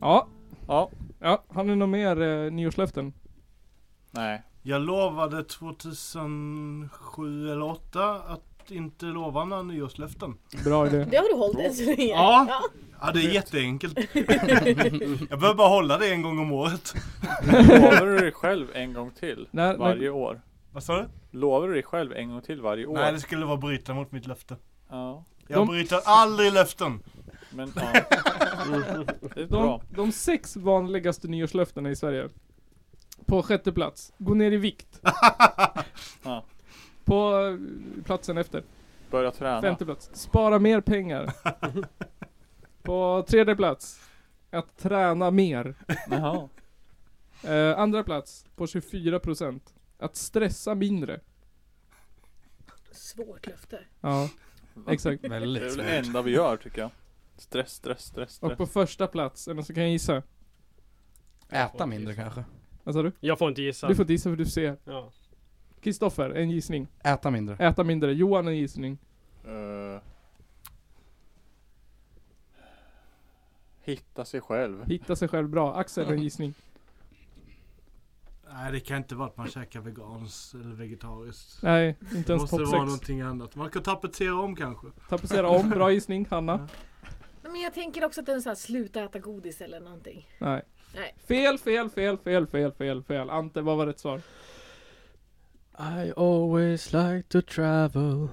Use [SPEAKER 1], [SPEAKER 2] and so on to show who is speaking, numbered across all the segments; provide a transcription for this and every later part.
[SPEAKER 1] Ja,
[SPEAKER 2] Ja.
[SPEAKER 1] ja. Har ni något mer eh, nyårslöften?
[SPEAKER 2] Nej.
[SPEAKER 3] Jag lovade 2007 eller 2008 att inte lova några nyårslöften.
[SPEAKER 1] Bra idé.
[SPEAKER 4] Det har du hållit än så länge.
[SPEAKER 3] Ja. Ja, det är jätteenkelt. Jag behöver bara hålla det en gång om året.
[SPEAKER 2] Lovar du dig själv en gång till
[SPEAKER 1] När, när,
[SPEAKER 2] varje år?
[SPEAKER 3] Vad sa du?
[SPEAKER 2] Lovar du dig själv en gång till varje år?
[SPEAKER 3] Nej, det skulle vara bryta mot mitt löfte.
[SPEAKER 2] Ja.
[SPEAKER 3] Jag
[SPEAKER 1] De-
[SPEAKER 3] bryter aldrig löften.
[SPEAKER 2] Men ja. Det är
[SPEAKER 1] de,
[SPEAKER 2] bra.
[SPEAKER 1] de sex vanligaste nyårslöftena i Sverige. På sjätte plats, gå ner i vikt.
[SPEAKER 2] Ja.
[SPEAKER 1] På eh, platsen efter.
[SPEAKER 2] Börja träna.
[SPEAKER 1] Femte plats. Spara mer pengar. På tredje plats. Att träna mer.
[SPEAKER 2] Jaha.
[SPEAKER 1] Eh, andra plats. På 24%. Att stressa mindre.
[SPEAKER 4] Svårt löfte.
[SPEAKER 1] Ja, exakt.
[SPEAKER 2] Det
[SPEAKER 5] Väldigt
[SPEAKER 2] är väl
[SPEAKER 5] svårt.
[SPEAKER 2] det enda vi gör tycker jag. Stress, stress, stress,
[SPEAKER 1] Och
[SPEAKER 2] stress.
[SPEAKER 1] på första plats, är det någon som kan gissa?
[SPEAKER 5] Äta mindre kanske.
[SPEAKER 1] Vad sa du?
[SPEAKER 6] Jag får inte gissa.
[SPEAKER 1] Du får inte gissa för du ser.
[SPEAKER 6] ja.
[SPEAKER 1] Kristoffer, en gissning.
[SPEAKER 5] Äta mindre.
[SPEAKER 1] Äta mindre. Johan, en gissning.
[SPEAKER 2] Eh. Hitta sig själv.
[SPEAKER 1] Hitta sig själv bra. Axel, en gissning.
[SPEAKER 3] Nej, det kan inte vara att man käkar veganskt eller vegetariskt.
[SPEAKER 1] Nej, inte
[SPEAKER 3] Det
[SPEAKER 1] ens
[SPEAKER 3] måste
[SPEAKER 1] topp
[SPEAKER 3] vara
[SPEAKER 1] 6.
[SPEAKER 3] någonting annat. Man kan tapetsera om kanske.
[SPEAKER 1] Tapetsera om, bra gissning. Hanna?
[SPEAKER 4] Nej, Men jag tänker också att den såhär, sluta äta godis eller någonting.
[SPEAKER 1] Nej.
[SPEAKER 4] Nej.
[SPEAKER 1] Fel, fel, fel, fel, fel, fel, fel. Ante, vad var rätt svar?
[SPEAKER 6] I always like to travel.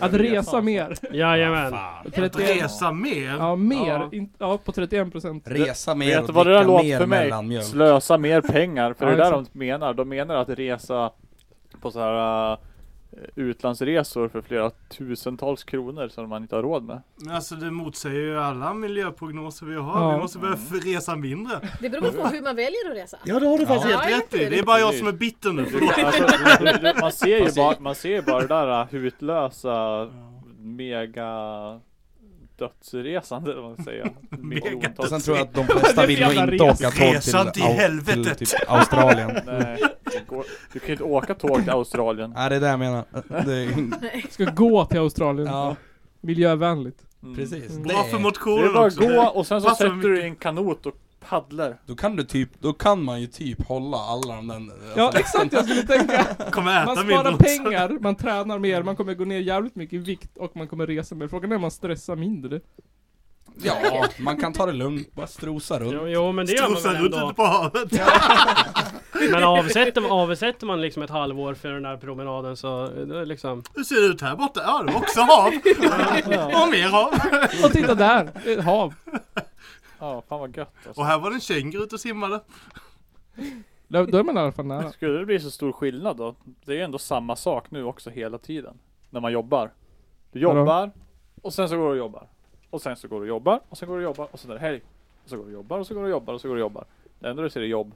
[SPEAKER 1] Att resa mer.
[SPEAKER 6] Jajamän.
[SPEAKER 3] Att
[SPEAKER 1] 31.
[SPEAKER 3] resa mer?
[SPEAKER 1] Ja, mer.
[SPEAKER 2] Ja.
[SPEAKER 1] In, ja, på 31 procent.
[SPEAKER 5] Resa mer
[SPEAKER 2] Vet du
[SPEAKER 5] och
[SPEAKER 2] vad det där
[SPEAKER 5] dricka
[SPEAKER 2] låter
[SPEAKER 5] mer
[SPEAKER 2] för mig?
[SPEAKER 5] mellanmjölk.
[SPEAKER 2] Slösa mer pengar, för det är
[SPEAKER 1] Ja,
[SPEAKER 2] där de menar. De menar att resa på så här eh, utlandsresor för flera tusentals kronor som man inte har råd med.
[SPEAKER 3] Men Alltså det motsäger ju alla miljöprognoser vi har.
[SPEAKER 1] Ja.
[SPEAKER 3] Vi måste börja f- resa mindre.
[SPEAKER 4] Det beror på hur man väljer att resa.
[SPEAKER 3] Ja det har du
[SPEAKER 4] faktiskt
[SPEAKER 3] Alltså, helt
[SPEAKER 4] Ja,
[SPEAKER 3] rätt
[SPEAKER 4] det
[SPEAKER 3] i.
[SPEAKER 4] är
[SPEAKER 3] Det är bara jag
[SPEAKER 2] det.
[SPEAKER 3] som är bitter nu.
[SPEAKER 2] Alltså, du- du- man, ser ju bara, man ser ju bara det där eh, hutlösa mega dödsresande eller vad man säger.
[SPEAKER 5] Och sen
[SPEAKER 2] Miljontals-
[SPEAKER 5] tror jag att de flesta vill nog inte åka tåg till,
[SPEAKER 3] Resan till
[SPEAKER 5] au, till
[SPEAKER 3] helvetet.
[SPEAKER 5] typ Australien.
[SPEAKER 2] Nej, det går, du kan ju inte åka tåg till Australien.
[SPEAKER 5] Nej det är det jag menar. Det är, Mm.
[SPEAKER 1] Ska gå till Australien.
[SPEAKER 5] ja,
[SPEAKER 1] Miljövänligt.
[SPEAKER 2] Mm.
[SPEAKER 5] precis. Det
[SPEAKER 3] Bra för
[SPEAKER 5] är,
[SPEAKER 2] Det är
[SPEAKER 3] motionen
[SPEAKER 2] bara
[SPEAKER 3] också.
[SPEAKER 2] att gå och sen så
[SPEAKER 3] Passar
[SPEAKER 2] sätter du dig
[SPEAKER 3] mycket.
[SPEAKER 2] i en kanot och paddlar.
[SPEAKER 5] då kan du typ, då kan man ju typ hålla alla de där... alltså, liksom,
[SPEAKER 1] Ja, exakt. Jag skulle tänka.
[SPEAKER 3] Kommer äta
[SPEAKER 1] Man
[SPEAKER 3] mindre
[SPEAKER 1] sparar
[SPEAKER 3] också.
[SPEAKER 1] pengar, man tränar mer, man kommer gå ner jävligt mycket i vikt och man kommer resa mer. Frågan är om man stressar mindre.
[SPEAKER 5] Ja, man kan ta det lugnt, bara strosa runt.
[SPEAKER 6] Jo, jo men det gör man
[SPEAKER 3] Strosar
[SPEAKER 6] väl
[SPEAKER 3] runt
[SPEAKER 6] ändå.
[SPEAKER 3] ute på havet.
[SPEAKER 6] Men avsätter, man- avsätter man liksom ett halvår för den här promenaden så eh, det är liksom
[SPEAKER 3] Hur ser det ut här borta? Ja det var också hav. Och mer hav.
[SPEAKER 1] Och titta där! Ett hav.
[SPEAKER 2] Ja, fan vad gött alltså.
[SPEAKER 3] Och här var det en känguru ute och simmade.
[SPEAKER 1] Då då är man i alla fall nära.
[SPEAKER 2] Skulle det bli så stor skillnad då? Det är ju ändå samma sak nu också hela tiden. När man jobbar. Du
[SPEAKER 1] Vadå?
[SPEAKER 2] jobbar, och sen så går du och jobbar. Och sen så går du och jobbar, och sen går du och jobbar, och sen är det helg. Och så går du och jobbar, och så går du och jobbar, och så går du och jobbar. Det enda du ser är jobb.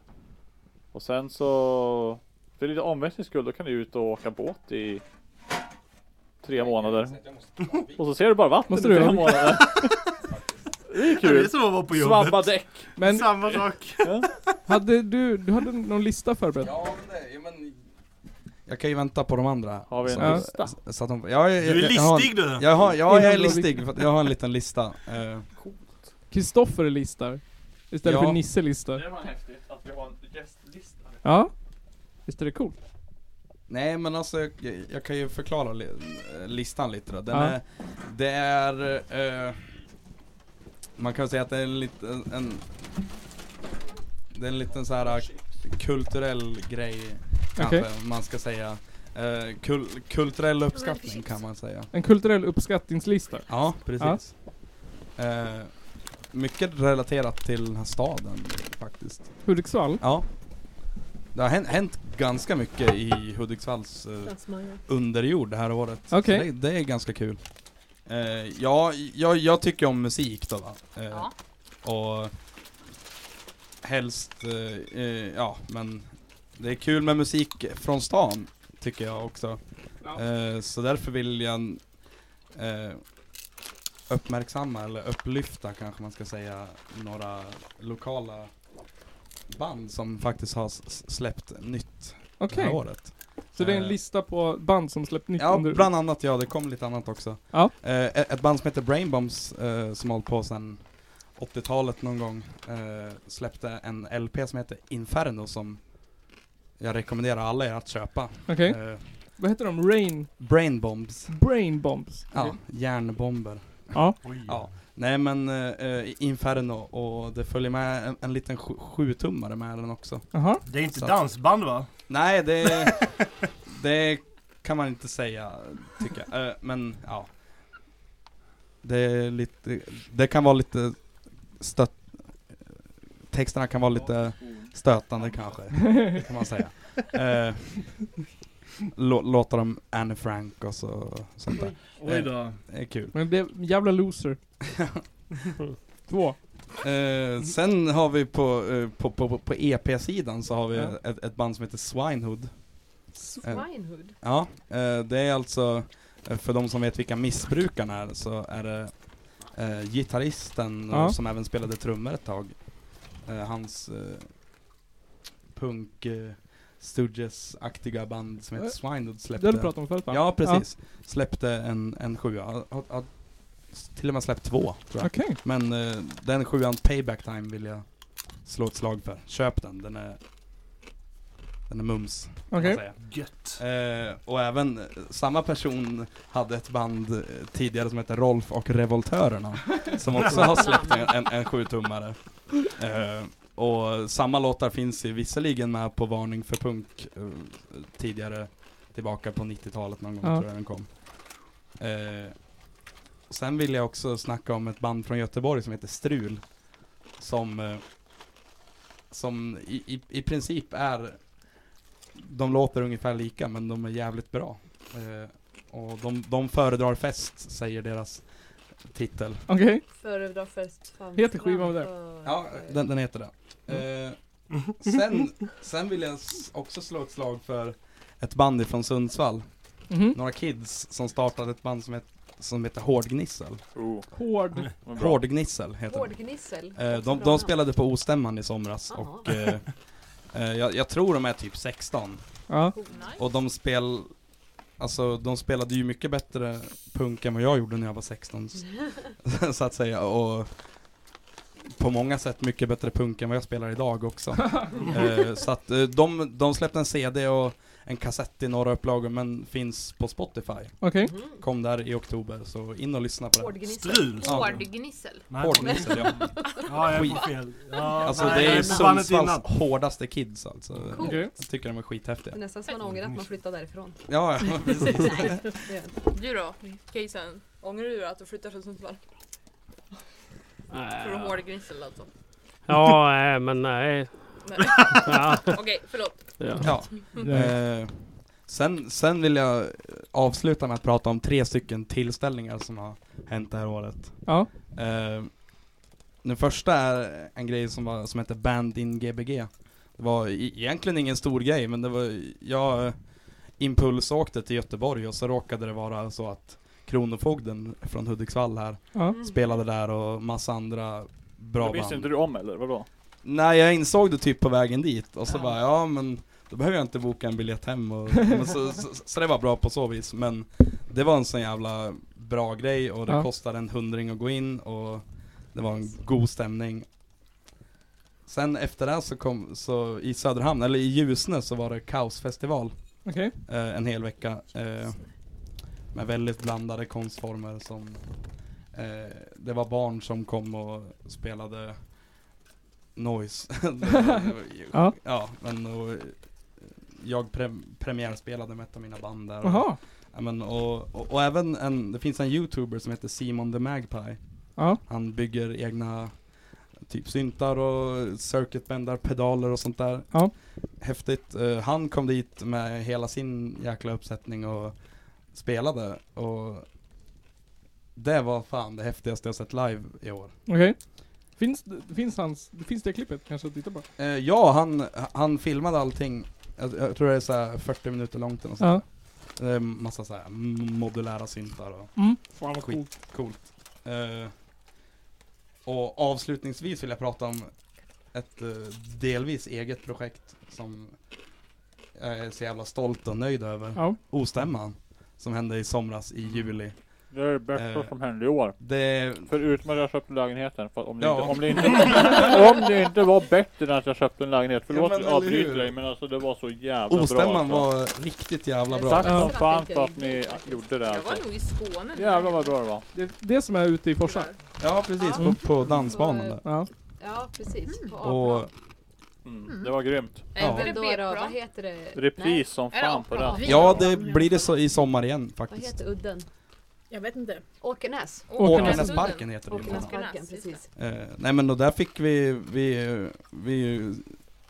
[SPEAKER 2] Och sen så... För lite omväxlings skull, då kan du ut och åka båt i tre månader. Och så ser du bara vatten
[SPEAKER 1] Måste
[SPEAKER 2] i
[SPEAKER 1] du
[SPEAKER 2] tre
[SPEAKER 1] göra?
[SPEAKER 2] månader. Det är
[SPEAKER 3] Ja, Det är
[SPEAKER 2] kul.
[SPEAKER 3] som att vara på jobbet.
[SPEAKER 2] Svabba däck.
[SPEAKER 1] Men
[SPEAKER 3] Samma sak.
[SPEAKER 1] hade du, du hade någon lista förberedd?
[SPEAKER 5] Ja, men det, ja, men... Jag kan ju vänta på de andra.
[SPEAKER 2] Har vi en
[SPEAKER 1] Ja.
[SPEAKER 5] så,
[SPEAKER 2] lista?
[SPEAKER 5] så att de, ja, jag,
[SPEAKER 3] Du är
[SPEAKER 5] jag, jag har,
[SPEAKER 3] listig du.
[SPEAKER 5] jag, har, ja, jag är
[SPEAKER 1] Innan vi-
[SPEAKER 5] listig, för att jag har en liten lista. Eh,
[SPEAKER 1] Kristoffer listar. Istället
[SPEAKER 5] Ja.
[SPEAKER 1] för Nisse listar.
[SPEAKER 2] Det var häftigt att vi har en gästlista.
[SPEAKER 1] Ja. Visst är det coolt?
[SPEAKER 5] nej men alltså, jag, jag kan ju förklara li, eh, listan lite då. Den
[SPEAKER 1] Ja.
[SPEAKER 5] är, det är, eh, man kan väl säga att det är en liten, en, det är en liten så här kulturell grej, kanske
[SPEAKER 1] Okej.
[SPEAKER 5] om man ska säga. Eh, kul, kulturell uppskattning
[SPEAKER 4] chips.
[SPEAKER 5] kan man säga.
[SPEAKER 1] En kulturell uppskattningslista.
[SPEAKER 5] Ja, precis. Eh, mycket relaterat till den här staden faktiskt.
[SPEAKER 1] Hudiksvall.
[SPEAKER 5] Ja. Det har hänt, hänt ganska mycket i Hudiksvalls eh,
[SPEAKER 4] Fransmannen.
[SPEAKER 5] underjord det här året. Så
[SPEAKER 1] Okej.
[SPEAKER 5] Det, det är ganska kul. Eh, ja, jag, jag tycker om musik då va. Eh,
[SPEAKER 4] Ja.
[SPEAKER 5] Och helst, eh, eh, ja men det är kul med musik från stan tycker jag också.
[SPEAKER 1] Ja.
[SPEAKER 5] Eh, så därför vill jag eh, uppmärksamma eller upplyfta kanske man ska säga några lokala band som faktiskt har s- s- släppt nytt det
[SPEAKER 1] Okej.
[SPEAKER 5] här året.
[SPEAKER 1] Så det är en
[SPEAKER 5] Eh,
[SPEAKER 1] lista på band som släppt nytt
[SPEAKER 5] Ja,
[SPEAKER 1] under...
[SPEAKER 5] bland annat ja, det kom lite annat också.
[SPEAKER 1] Ja.
[SPEAKER 5] Eh, ett ett band som heter Brainbombs eh, som har hållit på sedan 80-talet någon gång eh, släppte en LP som heter Inferno som jag rekommenderar alla er att köpa.
[SPEAKER 1] Okej.
[SPEAKER 5] Eh,
[SPEAKER 1] Vad heter de? Rain...
[SPEAKER 5] Brainbombs.
[SPEAKER 1] Brain Bombs?
[SPEAKER 5] Ja,
[SPEAKER 1] Okej.
[SPEAKER 5] järnbomber.
[SPEAKER 1] Ja.
[SPEAKER 7] Oj.
[SPEAKER 5] Ja. Nej men eh, eh, Inferno och det följer med en, en liten sju- sjutummare med den också.
[SPEAKER 1] Jaha.
[SPEAKER 7] Det är inte
[SPEAKER 5] Så att-
[SPEAKER 7] dansband va?
[SPEAKER 5] Nej, det, det kan man inte säga, tycker jag. Eh, Men ja. Det är lite, det kan vara lite stöt, texterna kan vara lite stötande kanske, kan man säga. Eh, lå- Låta dem Anne Frank och så, sånt där.
[SPEAKER 7] Oj
[SPEAKER 3] Eh,
[SPEAKER 7] då.
[SPEAKER 5] Det är kul.
[SPEAKER 1] Men det är en jävla loser. Två.
[SPEAKER 5] Eh, sen har vi på, eh, på, på, på EP-sidan så har vi
[SPEAKER 1] Ja.
[SPEAKER 5] ett, ett band som heter Swinehood. Eh,
[SPEAKER 8] Swinehood?
[SPEAKER 5] Ja, eh, det är alltså, eh, för de som vet vilka missbrukarna är, så är det eh, gitarristen
[SPEAKER 1] Ja.
[SPEAKER 5] eh, som även spelade trummor ett tag. Eh, hans eh, punk eh, Stooges-aktiga band som heter
[SPEAKER 1] Eh,
[SPEAKER 5] Swinehood
[SPEAKER 1] Det har du
[SPEAKER 5] släppte...
[SPEAKER 1] pratat om förut va?
[SPEAKER 5] Ja, precis. Släppte en, en sjua. Har, har, har s- till och med släppt två, tror jag.
[SPEAKER 1] Okej.
[SPEAKER 5] Men eh, den sjuan, Payback Time, vill jag slå ett slag för. Köp den, den är... Den är mums, kan
[SPEAKER 1] Okej.
[SPEAKER 5] man säga.
[SPEAKER 7] Gött.
[SPEAKER 5] Eh, och även eh, samma person hade ett band eh, tidigare som hette Rolf och Revoltörerna Som också har släppt en, en, en sjutummare eh, Och samma låtar finns ju visserligen med på Varning för punk eh, Tidigare Tillbaka på 90-talet någon gång
[SPEAKER 1] Ja.
[SPEAKER 5] tror jag den kom eh, Sen vill jag också snacka om ett band från Göteborg som heter Strul Som eh, Som i, i, i princip är de låter ungefär lika men de är jävligt bra. Eh, och de, de föredrar fest, säger deras titel.
[SPEAKER 1] Okej.
[SPEAKER 4] Föredrar först fan
[SPEAKER 1] Heter skivan där?
[SPEAKER 5] Ja, den, den heter det. Eh, sen, sen vill jag s- också slå ett slag för ett band ifrån Sundsvall.
[SPEAKER 1] Mhm.
[SPEAKER 5] Några kids som startade ett band som, het, som heter Hårdgnissel.
[SPEAKER 2] Oh,
[SPEAKER 1] Hård.
[SPEAKER 5] Mm.
[SPEAKER 2] vad bra.
[SPEAKER 5] Hårdgnissel heter det.
[SPEAKER 4] Hårdgnissel.
[SPEAKER 5] Eh, de, de spelade på Ostämman i somras
[SPEAKER 4] Jaha.
[SPEAKER 5] och eh, eh, jag, jag tror de är typ 16.
[SPEAKER 1] Ja.
[SPEAKER 5] Och de spel... Alltså de spelade ju mycket bättre punk än vad jag gjorde när jag var 16 s- Så att säga och På många sätt mycket bättre punk än vad jag spelar idag också Eh, Så att eh, de, de släppte en CD och en kassett i några upplagor men finns på Spotify
[SPEAKER 4] Mm.
[SPEAKER 1] Okej.
[SPEAKER 5] Kom där i oktober så in och lyssna på den
[SPEAKER 7] Strul.
[SPEAKER 5] Ja.
[SPEAKER 4] Hårdgnissel.
[SPEAKER 7] Nej,
[SPEAKER 5] Hårdnissel ja
[SPEAKER 7] Ja, jag är på fel. Ja,
[SPEAKER 5] Alltså
[SPEAKER 7] nej,
[SPEAKER 5] det
[SPEAKER 7] jag
[SPEAKER 5] är
[SPEAKER 7] är på bandet
[SPEAKER 5] Sundsvalls
[SPEAKER 7] innan.
[SPEAKER 5] hårdaste kids alltså
[SPEAKER 4] Cool.
[SPEAKER 1] Okej.
[SPEAKER 5] Jag tycker de är skithäftiga
[SPEAKER 4] Det är nästan så man ångrar att man flyttade därifrån.
[SPEAKER 5] Ja, ja precis
[SPEAKER 4] Det är-
[SPEAKER 9] Du då, Kejsan? Ångrar du att du flyttar från Sundsvall? Från
[SPEAKER 6] Äh,
[SPEAKER 9] hårgrissel alltså?
[SPEAKER 6] ja, nej, men nej.
[SPEAKER 9] Nej.
[SPEAKER 6] Ja,
[SPEAKER 9] Okej, förlåt.
[SPEAKER 6] ja.
[SPEAKER 5] Ja
[SPEAKER 1] Eh,
[SPEAKER 5] Eh, sen, sen vill jag avsluta med att prata om tre stycken tillställningar som har hänt det här året.
[SPEAKER 1] Ja.
[SPEAKER 5] Eh, den första är en grej som, var, som heter Band in Gbg. Det var e- egentligen ingen stor grej, men det var, jag eh, impulsåkte till Göteborg och så råkade det vara så att Kronofogden från Hudiksvall här
[SPEAKER 1] Ja.
[SPEAKER 5] spelade där och massa andra bra
[SPEAKER 2] det visste
[SPEAKER 5] band.
[SPEAKER 2] inte du om eller? Vadå?
[SPEAKER 5] Nej jag insåg det typ på vägen dit och så
[SPEAKER 1] Ja.
[SPEAKER 5] bara ja men då behöver jag inte boka en biljett hem och, men så, så, så det var bra på så vis men det var en sån jävla bra grej och det
[SPEAKER 1] Ja.
[SPEAKER 5] kostade en hundring att gå in och det var en god stämning. Sen efter det här så kom, så i Söderhamn, eller i Ljusne så var det kaosfestival
[SPEAKER 1] Okej.
[SPEAKER 5] eh, en hel vecka eh, med väldigt blandade konstformer som eh, det var barn som kom och spelade noise.
[SPEAKER 1] Ja.
[SPEAKER 5] ja, men och, eh, jag pre- premiärspelade med ett av mina band där. Och,
[SPEAKER 1] Jaha.
[SPEAKER 5] ja, men, och, och, och även en, det finns en youtuber som heter Simon the Magpie.
[SPEAKER 1] Ja.
[SPEAKER 5] Han bygger egna typ syntar och circuitbändar, pedaler och sånt där.
[SPEAKER 1] Ja.
[SPEAKER 5] Häftigt. Eh, han kom dit med hela sin jäkla uppsättning och spelade och det var fan det häftigaste jag sett live i år.
[SPEAKER 1] Okej. Finns, det- finns, hans, finns det klippet kanske att titta på?
[SPEAKER 5] Eh, ja, han, han filmade allting. Jag, jag tror det är så här 40 minuter långt eller
[SPEAKER 1] Ja.
[SPEAKER 5] nåt ja. eh, Massa så här m- modulära syntar och
[SPEAKER 1] Mm. Fan vad
[SPEAKER 5] Skit.
[SPEAKER 1] coolt.
[SPEAKER 5] Coolt. Eh, och avslutningsvis vill jag prata om ett eh, delvis eget projekt som jag är så jävla stolt och nöjd över.
[SPEAKER 1] Ja. Mm.
[SPEAKER 5] Ostämman, som hände i somras i juli.
[SPEAKER 2] Det är det bästa
[SPEAKER 5] Eh.
[SPEAKER 2] som hände i år.
[SPEAKER 5] Det,
[SPEAKER 2] Förutom att jag köpte lägenheten. För om, det
[SPEAKER 5] Ja.
[SPEAKER 2] inte, om, det inte, om det inte var bättre än att jag köpte en lägenhet. Förlåt
[SPEAKER 5] Ja,
[SPEAKER 2] att
[SPEAKER 5] men
[SPEAKER 2] jag
[SPEAKER 5] eller
[SPEAKER 2] avbryter
[SPEAKER 5] hur?
[SPEAKER 2] dig men alltså det var så jävla bra.
[SPEAKER 5] ostämman
[SPEAKER 2] alltså.
[SPEAKER 5] var riktigt jävla bra.
[SPEAKER 2] Tack
[SPEAKER 1] Ja.
[SPEAKER 2] som fan för att ni
[SPEAKER 9] Faktiskt.
[SPEAKER 2] gjorde det
[SPEAKER 4] Jag var
[SPEAKER 2] alltså.
[SPEAKER 4] nog i Skåne. nu.
[SPEAKER 2] Jävlar vad bra det var.
[SPEAKER 1] Det, det som är ute i Forsa.
[SPEAKER 4] Tyvärr.
[SPEAKER 5] Ja, precis.
[SPEAKER 1] Ja.
[SPEAKER 5] På, på dansbanan där.
[SPEAKER 1] Ja.
[SPEAKER 9] Ja, precis. På
[SPEAKER 5] Och
[SPEAKER 9] Aplan.
[SPEAKER 2] Mm. Det var grymt.
[SPEAKER 4] Nej,
[SPEAKER 5] Ja.
[SPEAKER 4] men det
[SPEAKER 9] Då,
[SPEAKER 4] blev
[SPEAKER 9] då,
[SPEAKER 4] bra.
[SPEAKER 9] vad heter det?
[SPEAKER 2] Repris
[SPEAKER 9] Nej,
[SPEAKER 2] som
[SPEAKER 4] Är det
[SPEAKER 2] fan på den.
[SPEAKER 4] aplan?
[SPEAKER 5] ja, det blir det så i sommar igen
[SPEAKER 9] Vad
[SPEAKER 5] faktiskt.
[SPEAKER 9] heter udden?
[SPEAKER 10] Jag vet inte.
[SPEAKER 9] Åkernäs.
[SPEAKER 5] Åkernäsparken heter det.
[SPEAKER 4] Åkernäs.
[SPEAKER 9] Åkernäsparken,
[SPEAKER 4] just det.
[SPEAKER 9] precis.
[SPEAKER 5] Eh, nej men då där fick vi, vi, eh, vi eh,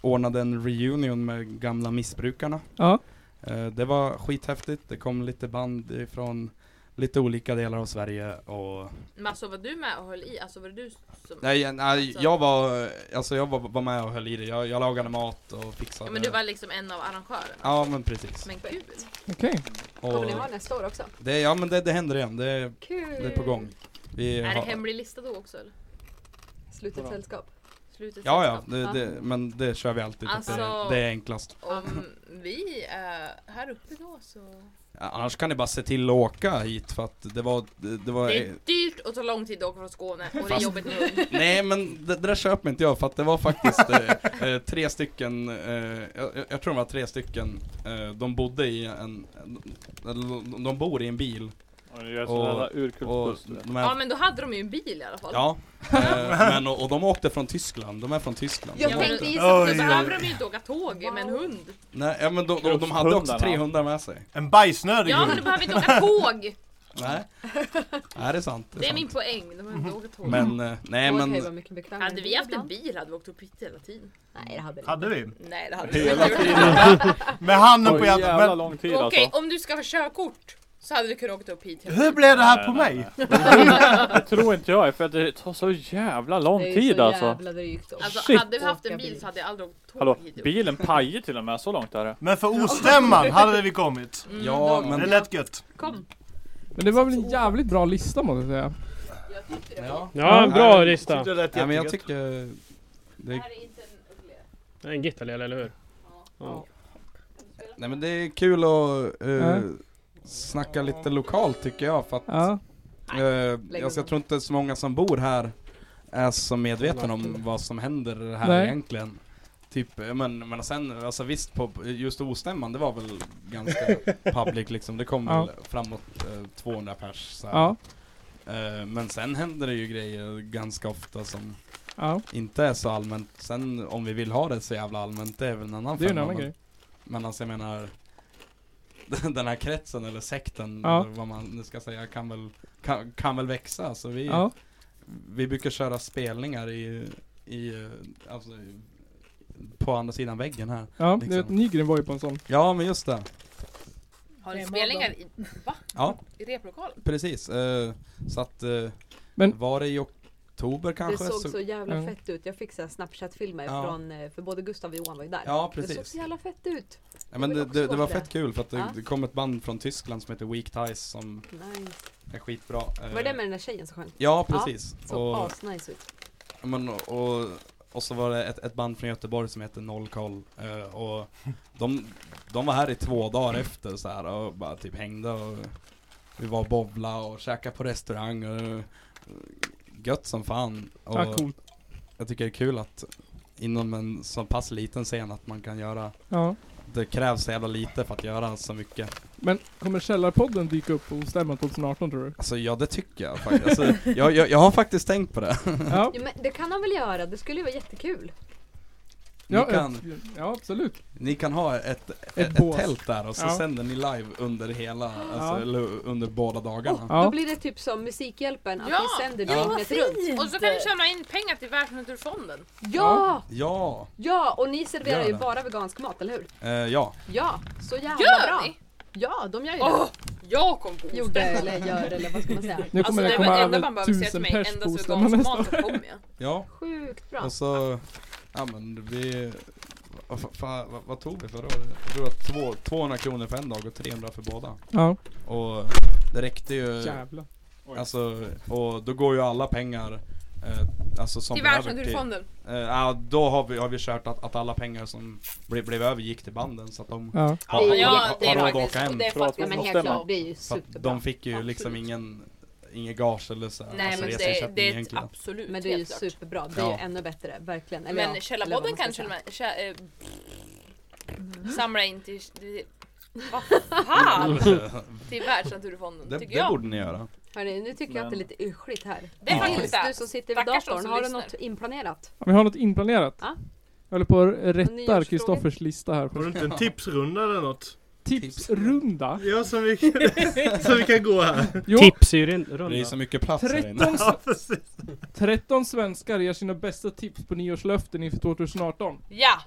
[SPEAKER 5] ordnade en reunion med gamla missbrukarna.
[SPEAKER 1] Ja.
[SPEAKER 5] Eh, det var skithäftigt, det kom lite band från lite olika delar av Sverige och
[SPEAKER 4] Men alltså var du med och höll i? Alltså var det du som...
[SPEAKER 5] Nej, eh, nej jag var, eh, alltså jag var, var med och höll i det, jag, jag lagade mat och fixade
[SPEAKER 4] Ja, men du var liksom en av arrangörerna.
[SPEAKER 5] Ja men precis.
[SPEAKER 4] Men gud.
[SPEAKER 1] Okej.
[SPEAKER 5] Och
[SPEAKER 9] Kommer ni ha nästa år också?
[SPEAKER 5] det, ja men det, det händer igen, det,
[SPEAKER 9] Kul!
[SPEAKER 5] det är på gång. Vi
[SPEAKER 4] Är det
[SPEAKER 5] har-
[SPEAKER 4] hemlig lista då också eller?
[SPEAKER 9] Slutet sällskap.
[SPEAKER 4] Slutet
[SPEAKER 5] Ja ja,
[SPEAKER 4] sällskap.
[SPEAKER 5] det, det, men det kör vi alltid, att
[SPEAKER 4] Alltså-
[SPEAKER 5] det, det är enklast.
[SPEAKER 4] Om vi är här uppe då så...
[SPEAKER 5] Ja, Annars kan ni bara se till att åka hit för att det var... Det, det var
[SPEAKER 4] Det är dyrt och tar lång tid att åka från Skåne och det är
[SPEAKER 5] Fast-
[SPEAKER 4] jobbigt med hund.
[SPEAKER 5] nej men det, det där köper inte jag för att det var faktiskt eh, eh, tre stycken, eh, jag, jag- jag tror det var tre stycken, eh, de bodde i en, de, de bor i en bil
[SPEAKER 2] Och ni gör sådana där
[SPEAKER 5] och
[SPEAKER 2] urkultbuster.
[SPEAKER 5] de
[SPEAKER 4] Ja
[SPEAKER 5] är,
[SPEAKER 4] men då hade de ju en bil i alla fall.
[SPEAKER 5] ja, eh, men, och, och de åkte från Tyskland, de är från Tyskland.
[SPEAKER 4] Jag
[SPEAKER 5] De
[SPEAKER 4] tänkte
[SPEAKER 5] åkte-
[SPEAKER 4] gissa på
[SPEAKER 3] Oj,
[SPEAKER 4] det, så
[SPEAKER 3] oj.
[SPEAKER 4] behöver de ju inte åka tåg med en hund.
[SPEAKER 5] Nej ja, men de, de, de hade också
[SPEAKER 2] Krosshundarna.
[SPEAKER 5] 300 med sig.
[SPEAKER 3] En bajsnödig
[SPEAKER 4] Ja men
[SPEAKER 3] hund.
[SPEAKER 4] de behöver inte åka tåg!
[SPEAKER 5] Nej, nej det är sant. Det
[SPEAKER 4] Det
[SPEAKER 5] är
[SPEAKER 4] är
[SPEAKER 5] sant.
[SPEAKER 4] min poäng, de behöver inte åka tåg.
[SPEAKER 5] Men, eh, nej
[SPEAKER 9] Tåg
[SPEAKER 5] men
[SPEAKER 9] kan ju vara mycket bekvämare
[SPEAKER 4] Hade
[SPEAKER 9] än
[SPEAKER 4] vi
[SPEAKER 9] bil
[SPEAKER 4] haft en
[SPEAKER 9] ibland.
[SPEAKER 4] bil hade vi åkt upp hit hela tiden.
[SPEAKER 9] Nej, det hade vi
[SPEAKER 3] Hade vi?
[SPEAKER 4] Nej det hade vi
[SPEAKER 2] Hela
[SPEAKER 4] inte. gjort.
[SPEAKER 2] tiden.
[SPEAKER 3] Med handen
[SPEAKER 2] Och
[SPEAKER 3] på
[SPEAKER 2] jävla
[SPEAKER 3] hjärtat.
[SPEAKER 2] lång tid alltså.
[SPEAKER 4] Okej, om du ska få körkort så hade du kunnat åka upp hit.
[SPEAKER 3] Men hur blev det här på
[SPEAKER 2] Nej,
[SPEAKER 3] mig?
[SPEAKER 2] Det tror inte jag för att det tar så jävla lång
[SPEAKER 9] Det är ju
[SPEAKER 2] tid
[SPEAKER 9] så
[SPEAKER 2] alltså.
[SPEAKER 9] jävla drygt.
[SPEAKER 4] Alltså
[SPEAKER 2] Shit.
[SPEAKER 4] hade vi haft en
[SPEAKER 9] Åka
[SPEAKER 4] bil
[SPEAKER 9] bil.
[SPEAKER 4] så hade jag aldrig åkt tåg
[SPEAKER 2] Hallå,
[SPEAKER 4] hit upp.
[SPEAKER 2] bilen pajar till och med, så långt är det.
[SPEAKER 3] Men för ostämman hade vi kommit.
[SPEAKER 4] Mm,
[SPEAKER 5] Ja,
[SPEAKER 4] då-
[SPEAKER 5] men-
[SPEAKER 3] Det lät gött.
[SPEAKER 4] Kom.
[SPEAKER 1] Men det var väl en jävligt bra lista måste jag säga.
[SPEAKER 5] ja.
[SPEAKER 6] Ja, bra lista.
[SPEAKER 3] Tyckte det lät
[SPEAKER 5] Nej men jag
[SPEAKER 3] jättegött.
[SPEAKER 5] tycker... Det
[SPEAKER 6] Det är En gittarlel, eller hur? Ja.
[SPEAKER 5] Nej men det är kul att eh,
[SPEAKER 1] Ja.
[SPEAKER 5] snacka lite lokalt tycker jag för att
[SPEAKER 1] Ja.
[SPEAKER 5] eh, alltså, jag tror inte så många som bor här är så medvetna om vad som händer här
[SPEAKER 1] Nej.
[SPEAKER 5] egentligen. Typ, eh, men, men sen, alltså visst på just ostämman, det var väl ganska public liksom. Det kom
[SPEAKER 1] Ja.
[SPEAKER 5] väl framåt eh, 200 pers så här.
[SPEAKER 1] Ja.
[SPEAKER 5] Eh, Men sen händer det ju grejer ganska ofta som
[SPEAKER 1] ja.
[SPEAKER 5] inte är så allmänt. Sen om vi vill ha det så jävla allmänt, det är väl en annan
[SPEAKER 1] Det är ju en
[SPEAKER 5] femma,
[SPEAKER 1] annan
[SPEAKER 5] men-
[SPEAKER 1] grej.
[SPEAKER 5] men alltså jag menar Den här kretsen eller sekten
[SPEAKER 1] Ja.
[SPEAKER 5] eller vad man nu ska säga kan väl Kan, kan väl växa så vi
[SPEAKER 1] Ja.
[SPEAKER 5] Vi brukar köra spelningar i I eh, Alltså i- På andra sidan väggen här
[SPEAKER 1] Ja,
[SPEAKER 5] Liksom.
[SPEAKER 1] du vet Nygren var ju på en sån.
[SPEAKER 5] Ja men just det
[SPEAKER 4] Har ni spelningar i, va?
[SPEAKER 5] Ja
[SPEAKER 4] I replokalen?
[SPEAKER 5] precis Eh, Så att eh,
[SPEAKER 1] Men-
[SPEAKER 5] Var det i oktober
[SPEAKER 9] Det
[SPEAKER 5] kanske?
[SPEAKER 9] såg så jävla
[SPEAKER 1] Ja.
[SPEAKER 9] fett ut. Jag fick så här Snapchat-filmer
[SPEAKER 5] Mm. Ja.
[SPEAKER 9] från, eh, för både Gustav och Johan var ju där.
[SPEAKER 5] Ja
[SPEAKER 9] Det såg
[SPEAKER 5] precis
[SPEAKER 9] så jävla fett ut.
[SPEAKER 5] ja, men
[SPEAKER 9] Jag
[SPEAKER 5] det,
[SPEAKER 9] vill också
[SPEAKER 5] det, det var
[SPEAKER 9] åka.
[SPEAKER 5] fett kul för att det,
[SPEAKER 9] Ja.
[SPEAKER 5] det kom ett band från Tyskland som heter Weak Ties som
[SPEAKER 9] Nice.
[SPEAKER 5] är skitbra Eh,
[SPEAKER 9] Var det med den där tjejen som sjöng?
[SPEAKER 5] Ja
[SPEAKER 9] Ja,
[SPEAKER 5] precis
[SPEAKER 9] Såg
[SPEAKER 5] Och-
[SPEAKER 9] asnice ut.
[SPEAKER 5] Ja, Men, och, och så var det ett, ett band från Göteborg som heter Noll Koll eh, och de, de var här i två dagar efter så här och bara typ hängde och vi var och bobla och käkade på restaurang och eh, gött som fan. Och
[SPEAKER 1] Ja, coolt.
[SPEAKER 5] jag tycker det är kul att inom en så pass liten scen att man kan göra,
[SPEAKER 1] Ja.
[SPEAKER 5] det krävs så jävla lite för att göra så mycket.
[SPEAKER 1] Men kommer Källarpodden dyka upp på stämman 2018 tror du?
[SPEAKER 5] Alltså ja det tycker jag faktiskt. Alltså, jag, jag, jag har faktiskt tänkt på det.
[SPEAKER 1] Ja.
[SPEAKER 9] Ja, men det kan han väl göra? Det skulle ju vara jättekul.
[SPEAKER 5] Ni,
[SPEAKER 1] Ja,
[SPEAKER 5] kan,
[SPEAKER 1] ett- ja absolut.
[SPEAKER 5] Ni kan ha ett, ett,
[SPEAKER 1] bås.
[SPEAKER 5] tält där och så
[SPEAKER 1] Ja.
[SPEAKER 5] sänder ni live under hela, alltså,
[SPEAKER 1] Ja.
[SPEAKER 5] eller under båda dagarna.
[SPEAKER 1] Ja.
[SPEAKER 9] Då blir det typ som Musikhjälpen, att
[SPEAKER 4] Ja!
[SPEAKER 9] vi sänder
[SPEAKER 5] Ja.
[SPEAKER 9] dygnet runt.
[SPEAKER 4] Och så kan du tjäna in pengar till Världsnaturfonden.
[SPEAKER 9] Ja!
[SPEAKER 5] Ja,
[SPEAKER 9] Ja! Och ni serverar
[SPEAKER 5] Gör
[SPEAKER 9] ju
[SPEAKER 5] det.
[SPEAKER 9] bara vegansk mat, eller hur?
[SPEAKER 5] eh, ja.
[SPEAKER 9] Ja! Så jävla
[SPEAKER 4] Gör
[SPEAKER 9] bra!
[SPEAKER 4] ni?
[SPEAKER 9] Ja, de gör ju
[SPEAKER 4] Åh! Jag kom på
[SPEAKER 9] det.
[SPEAKER 4] osten.
[SPEAKER 9] Gjorde eller gör eller vad ska man säga?
[SPEAKER 1] Nu
[SPEAKER 4] Alltså
[SPEAKER 1] kommer
[SPEAKER 4] det
[SPEAKER 1] det komma
[SPEAKER 4] var det enda man
[SPEAKER 1] över
[SPEAKER 4] behöver säga till
[SPEAKER 1] tusen
[SPEAKER 4] mig,
[SPEAKER 1] pers på
[SPEAKER 4] endast
[SPEAKER 1] stämman
[SPEAKER 4] vegansk
[SPEAKER 1] nästa
[SPEAKER 4] mat
[SPEAKER 1] år.
[SPEAKER 4] så kommer jag.
[SPEAKER 5] Ja,
[SPEAKER 9] Sjukt bra!
[SPEAKER 5] och så, ja men vi, vad, fa- fa- vad, vad tog vi förra året? Jag tror att två, 200 kronor för en dag och 300 för båda.
[SPEAKER 1] Ja.
[SPEAKER 5] Och det räckte ju,
[SPEAKER 1] Jävlar.
[SPEAKER 5] alltså, och då går ju alla pengar Eh, alltså som
[SPEAKER 9] Till
[SPEAKER 5] blev över
[SPEAKER 9] Världsnaturfonden.
[SPEAKER 5] Eh, ja, då har vi, har vi kört att, att alla pengar som blev, blev över gick till banden så att de
[SPEAKER 1] Ja.
[SPEAKER 5] har,
[SPEAKER 9] Ja,
[SPEAKER 5] har,
[SPEAKER 9] det är
[SPEAKER 5] har råd att
[SPEAKER 9] faktiskt-
[SPEAKER 5] åka hem.
[SPEAKER 9] det är
[SPEAKER 2] För att-
[SPEAKER 4] Ja
[SPEAKER 9] faktiskt-
[SPEAKER 4] men helt
[SPEAKER 2] Stämmer.
[SPEAKER 4] klart, det är ju
[SPEAKER 5] Så att
[SPEAKER 4] superbra.
[SPEAKER 5] de fick ju liksom
[SPEAKER 4] Absolut.
[SPEAKER 5] ingen, ingen gage eller så.
[SPEAKER 9] Nej
[SPEAKER 5] alltså
[SPEAKER 9] men det,
[SPEAKER 5] reseersättning
[SPEAKER 9] det är ett
[SPEAKER 5] egentligen.
[SPEAKER 9] absolut
[SPEAKER 4] Men det är ju
[SPEAKER 9] helt klart.
[SPEAKER 4] superbra, det är ju
[SPEAKER 5] Ja.
[SPEAKER 4] ännu bättre, verkligen. Eller
[SPEAKER 9] Men
[SPEAKER 4] ja, eller vad
[SPEAKER 9] Källarpodden
[SPEAKER 4] man ska
[SPEAKER 9] kanske
[SPEAKER 4] säga.
[SPEAKER 9] man... Kä, eh,
[SPEAKER 8] Mm.
[SPEAKER 9] samla eh, in till... till- Vad fan! till Världsnaturfonden
[SPEAKER 5] Det,
[SPEAKER 9] tycker
[SPEAKER 5] det
[SPEAKER 9] jag.
[SPEAKER 5] borde ni göra.
[SPEAKER 4] Hörni, nu tycker jag att det är lite yrsligt här.
[SPEAKER 9] Det är
[SPEAKER 4] Nils,
[SPEAKER 9] faktiskt
[SPEAKER 4] du
[SPEAKER 9] det.
[SPEAKER 4] som sitter vid
[SPEAKER 9] Stackars de
[SPEAKER 4] datorn,
[SPEAKER 9] som
[SPEAKER 4] har du
[SPEAKER 9] lyssnar.
[SPEAKER 4] något inplanerat?
[SPEAKER 1] Vi har något inplanerat.
[SPEAKER 4] Ja.
[SPEAKER 1] Jag håller på och rättar
[SPEAKER 4] Nyårsfrågor.
[SPEAKER 1] Kristoffers lista här.
[SPEAKER 3] Har du inte en tipsrunda eller något?
[SPEAKER 1] Tipsrunda.
[SPEAKER 3] Ja, som vi, som vi kan gå här.
[SPEAKER 1] Jo,
[SPEAKER 6] Tips i
[SPEAKER 5] Det är ju
[SPEAKER 6] runda.
[SPEAKER 5] så mycket plats här inne.
[SPEAKER 1] 13,
[SPEAKER 3] Ja, precis.
[SPEAKER 1] 13 svenskar ger sina bästa tips på nyårslöften inför 2018.
[SPEAKER 9] Ja!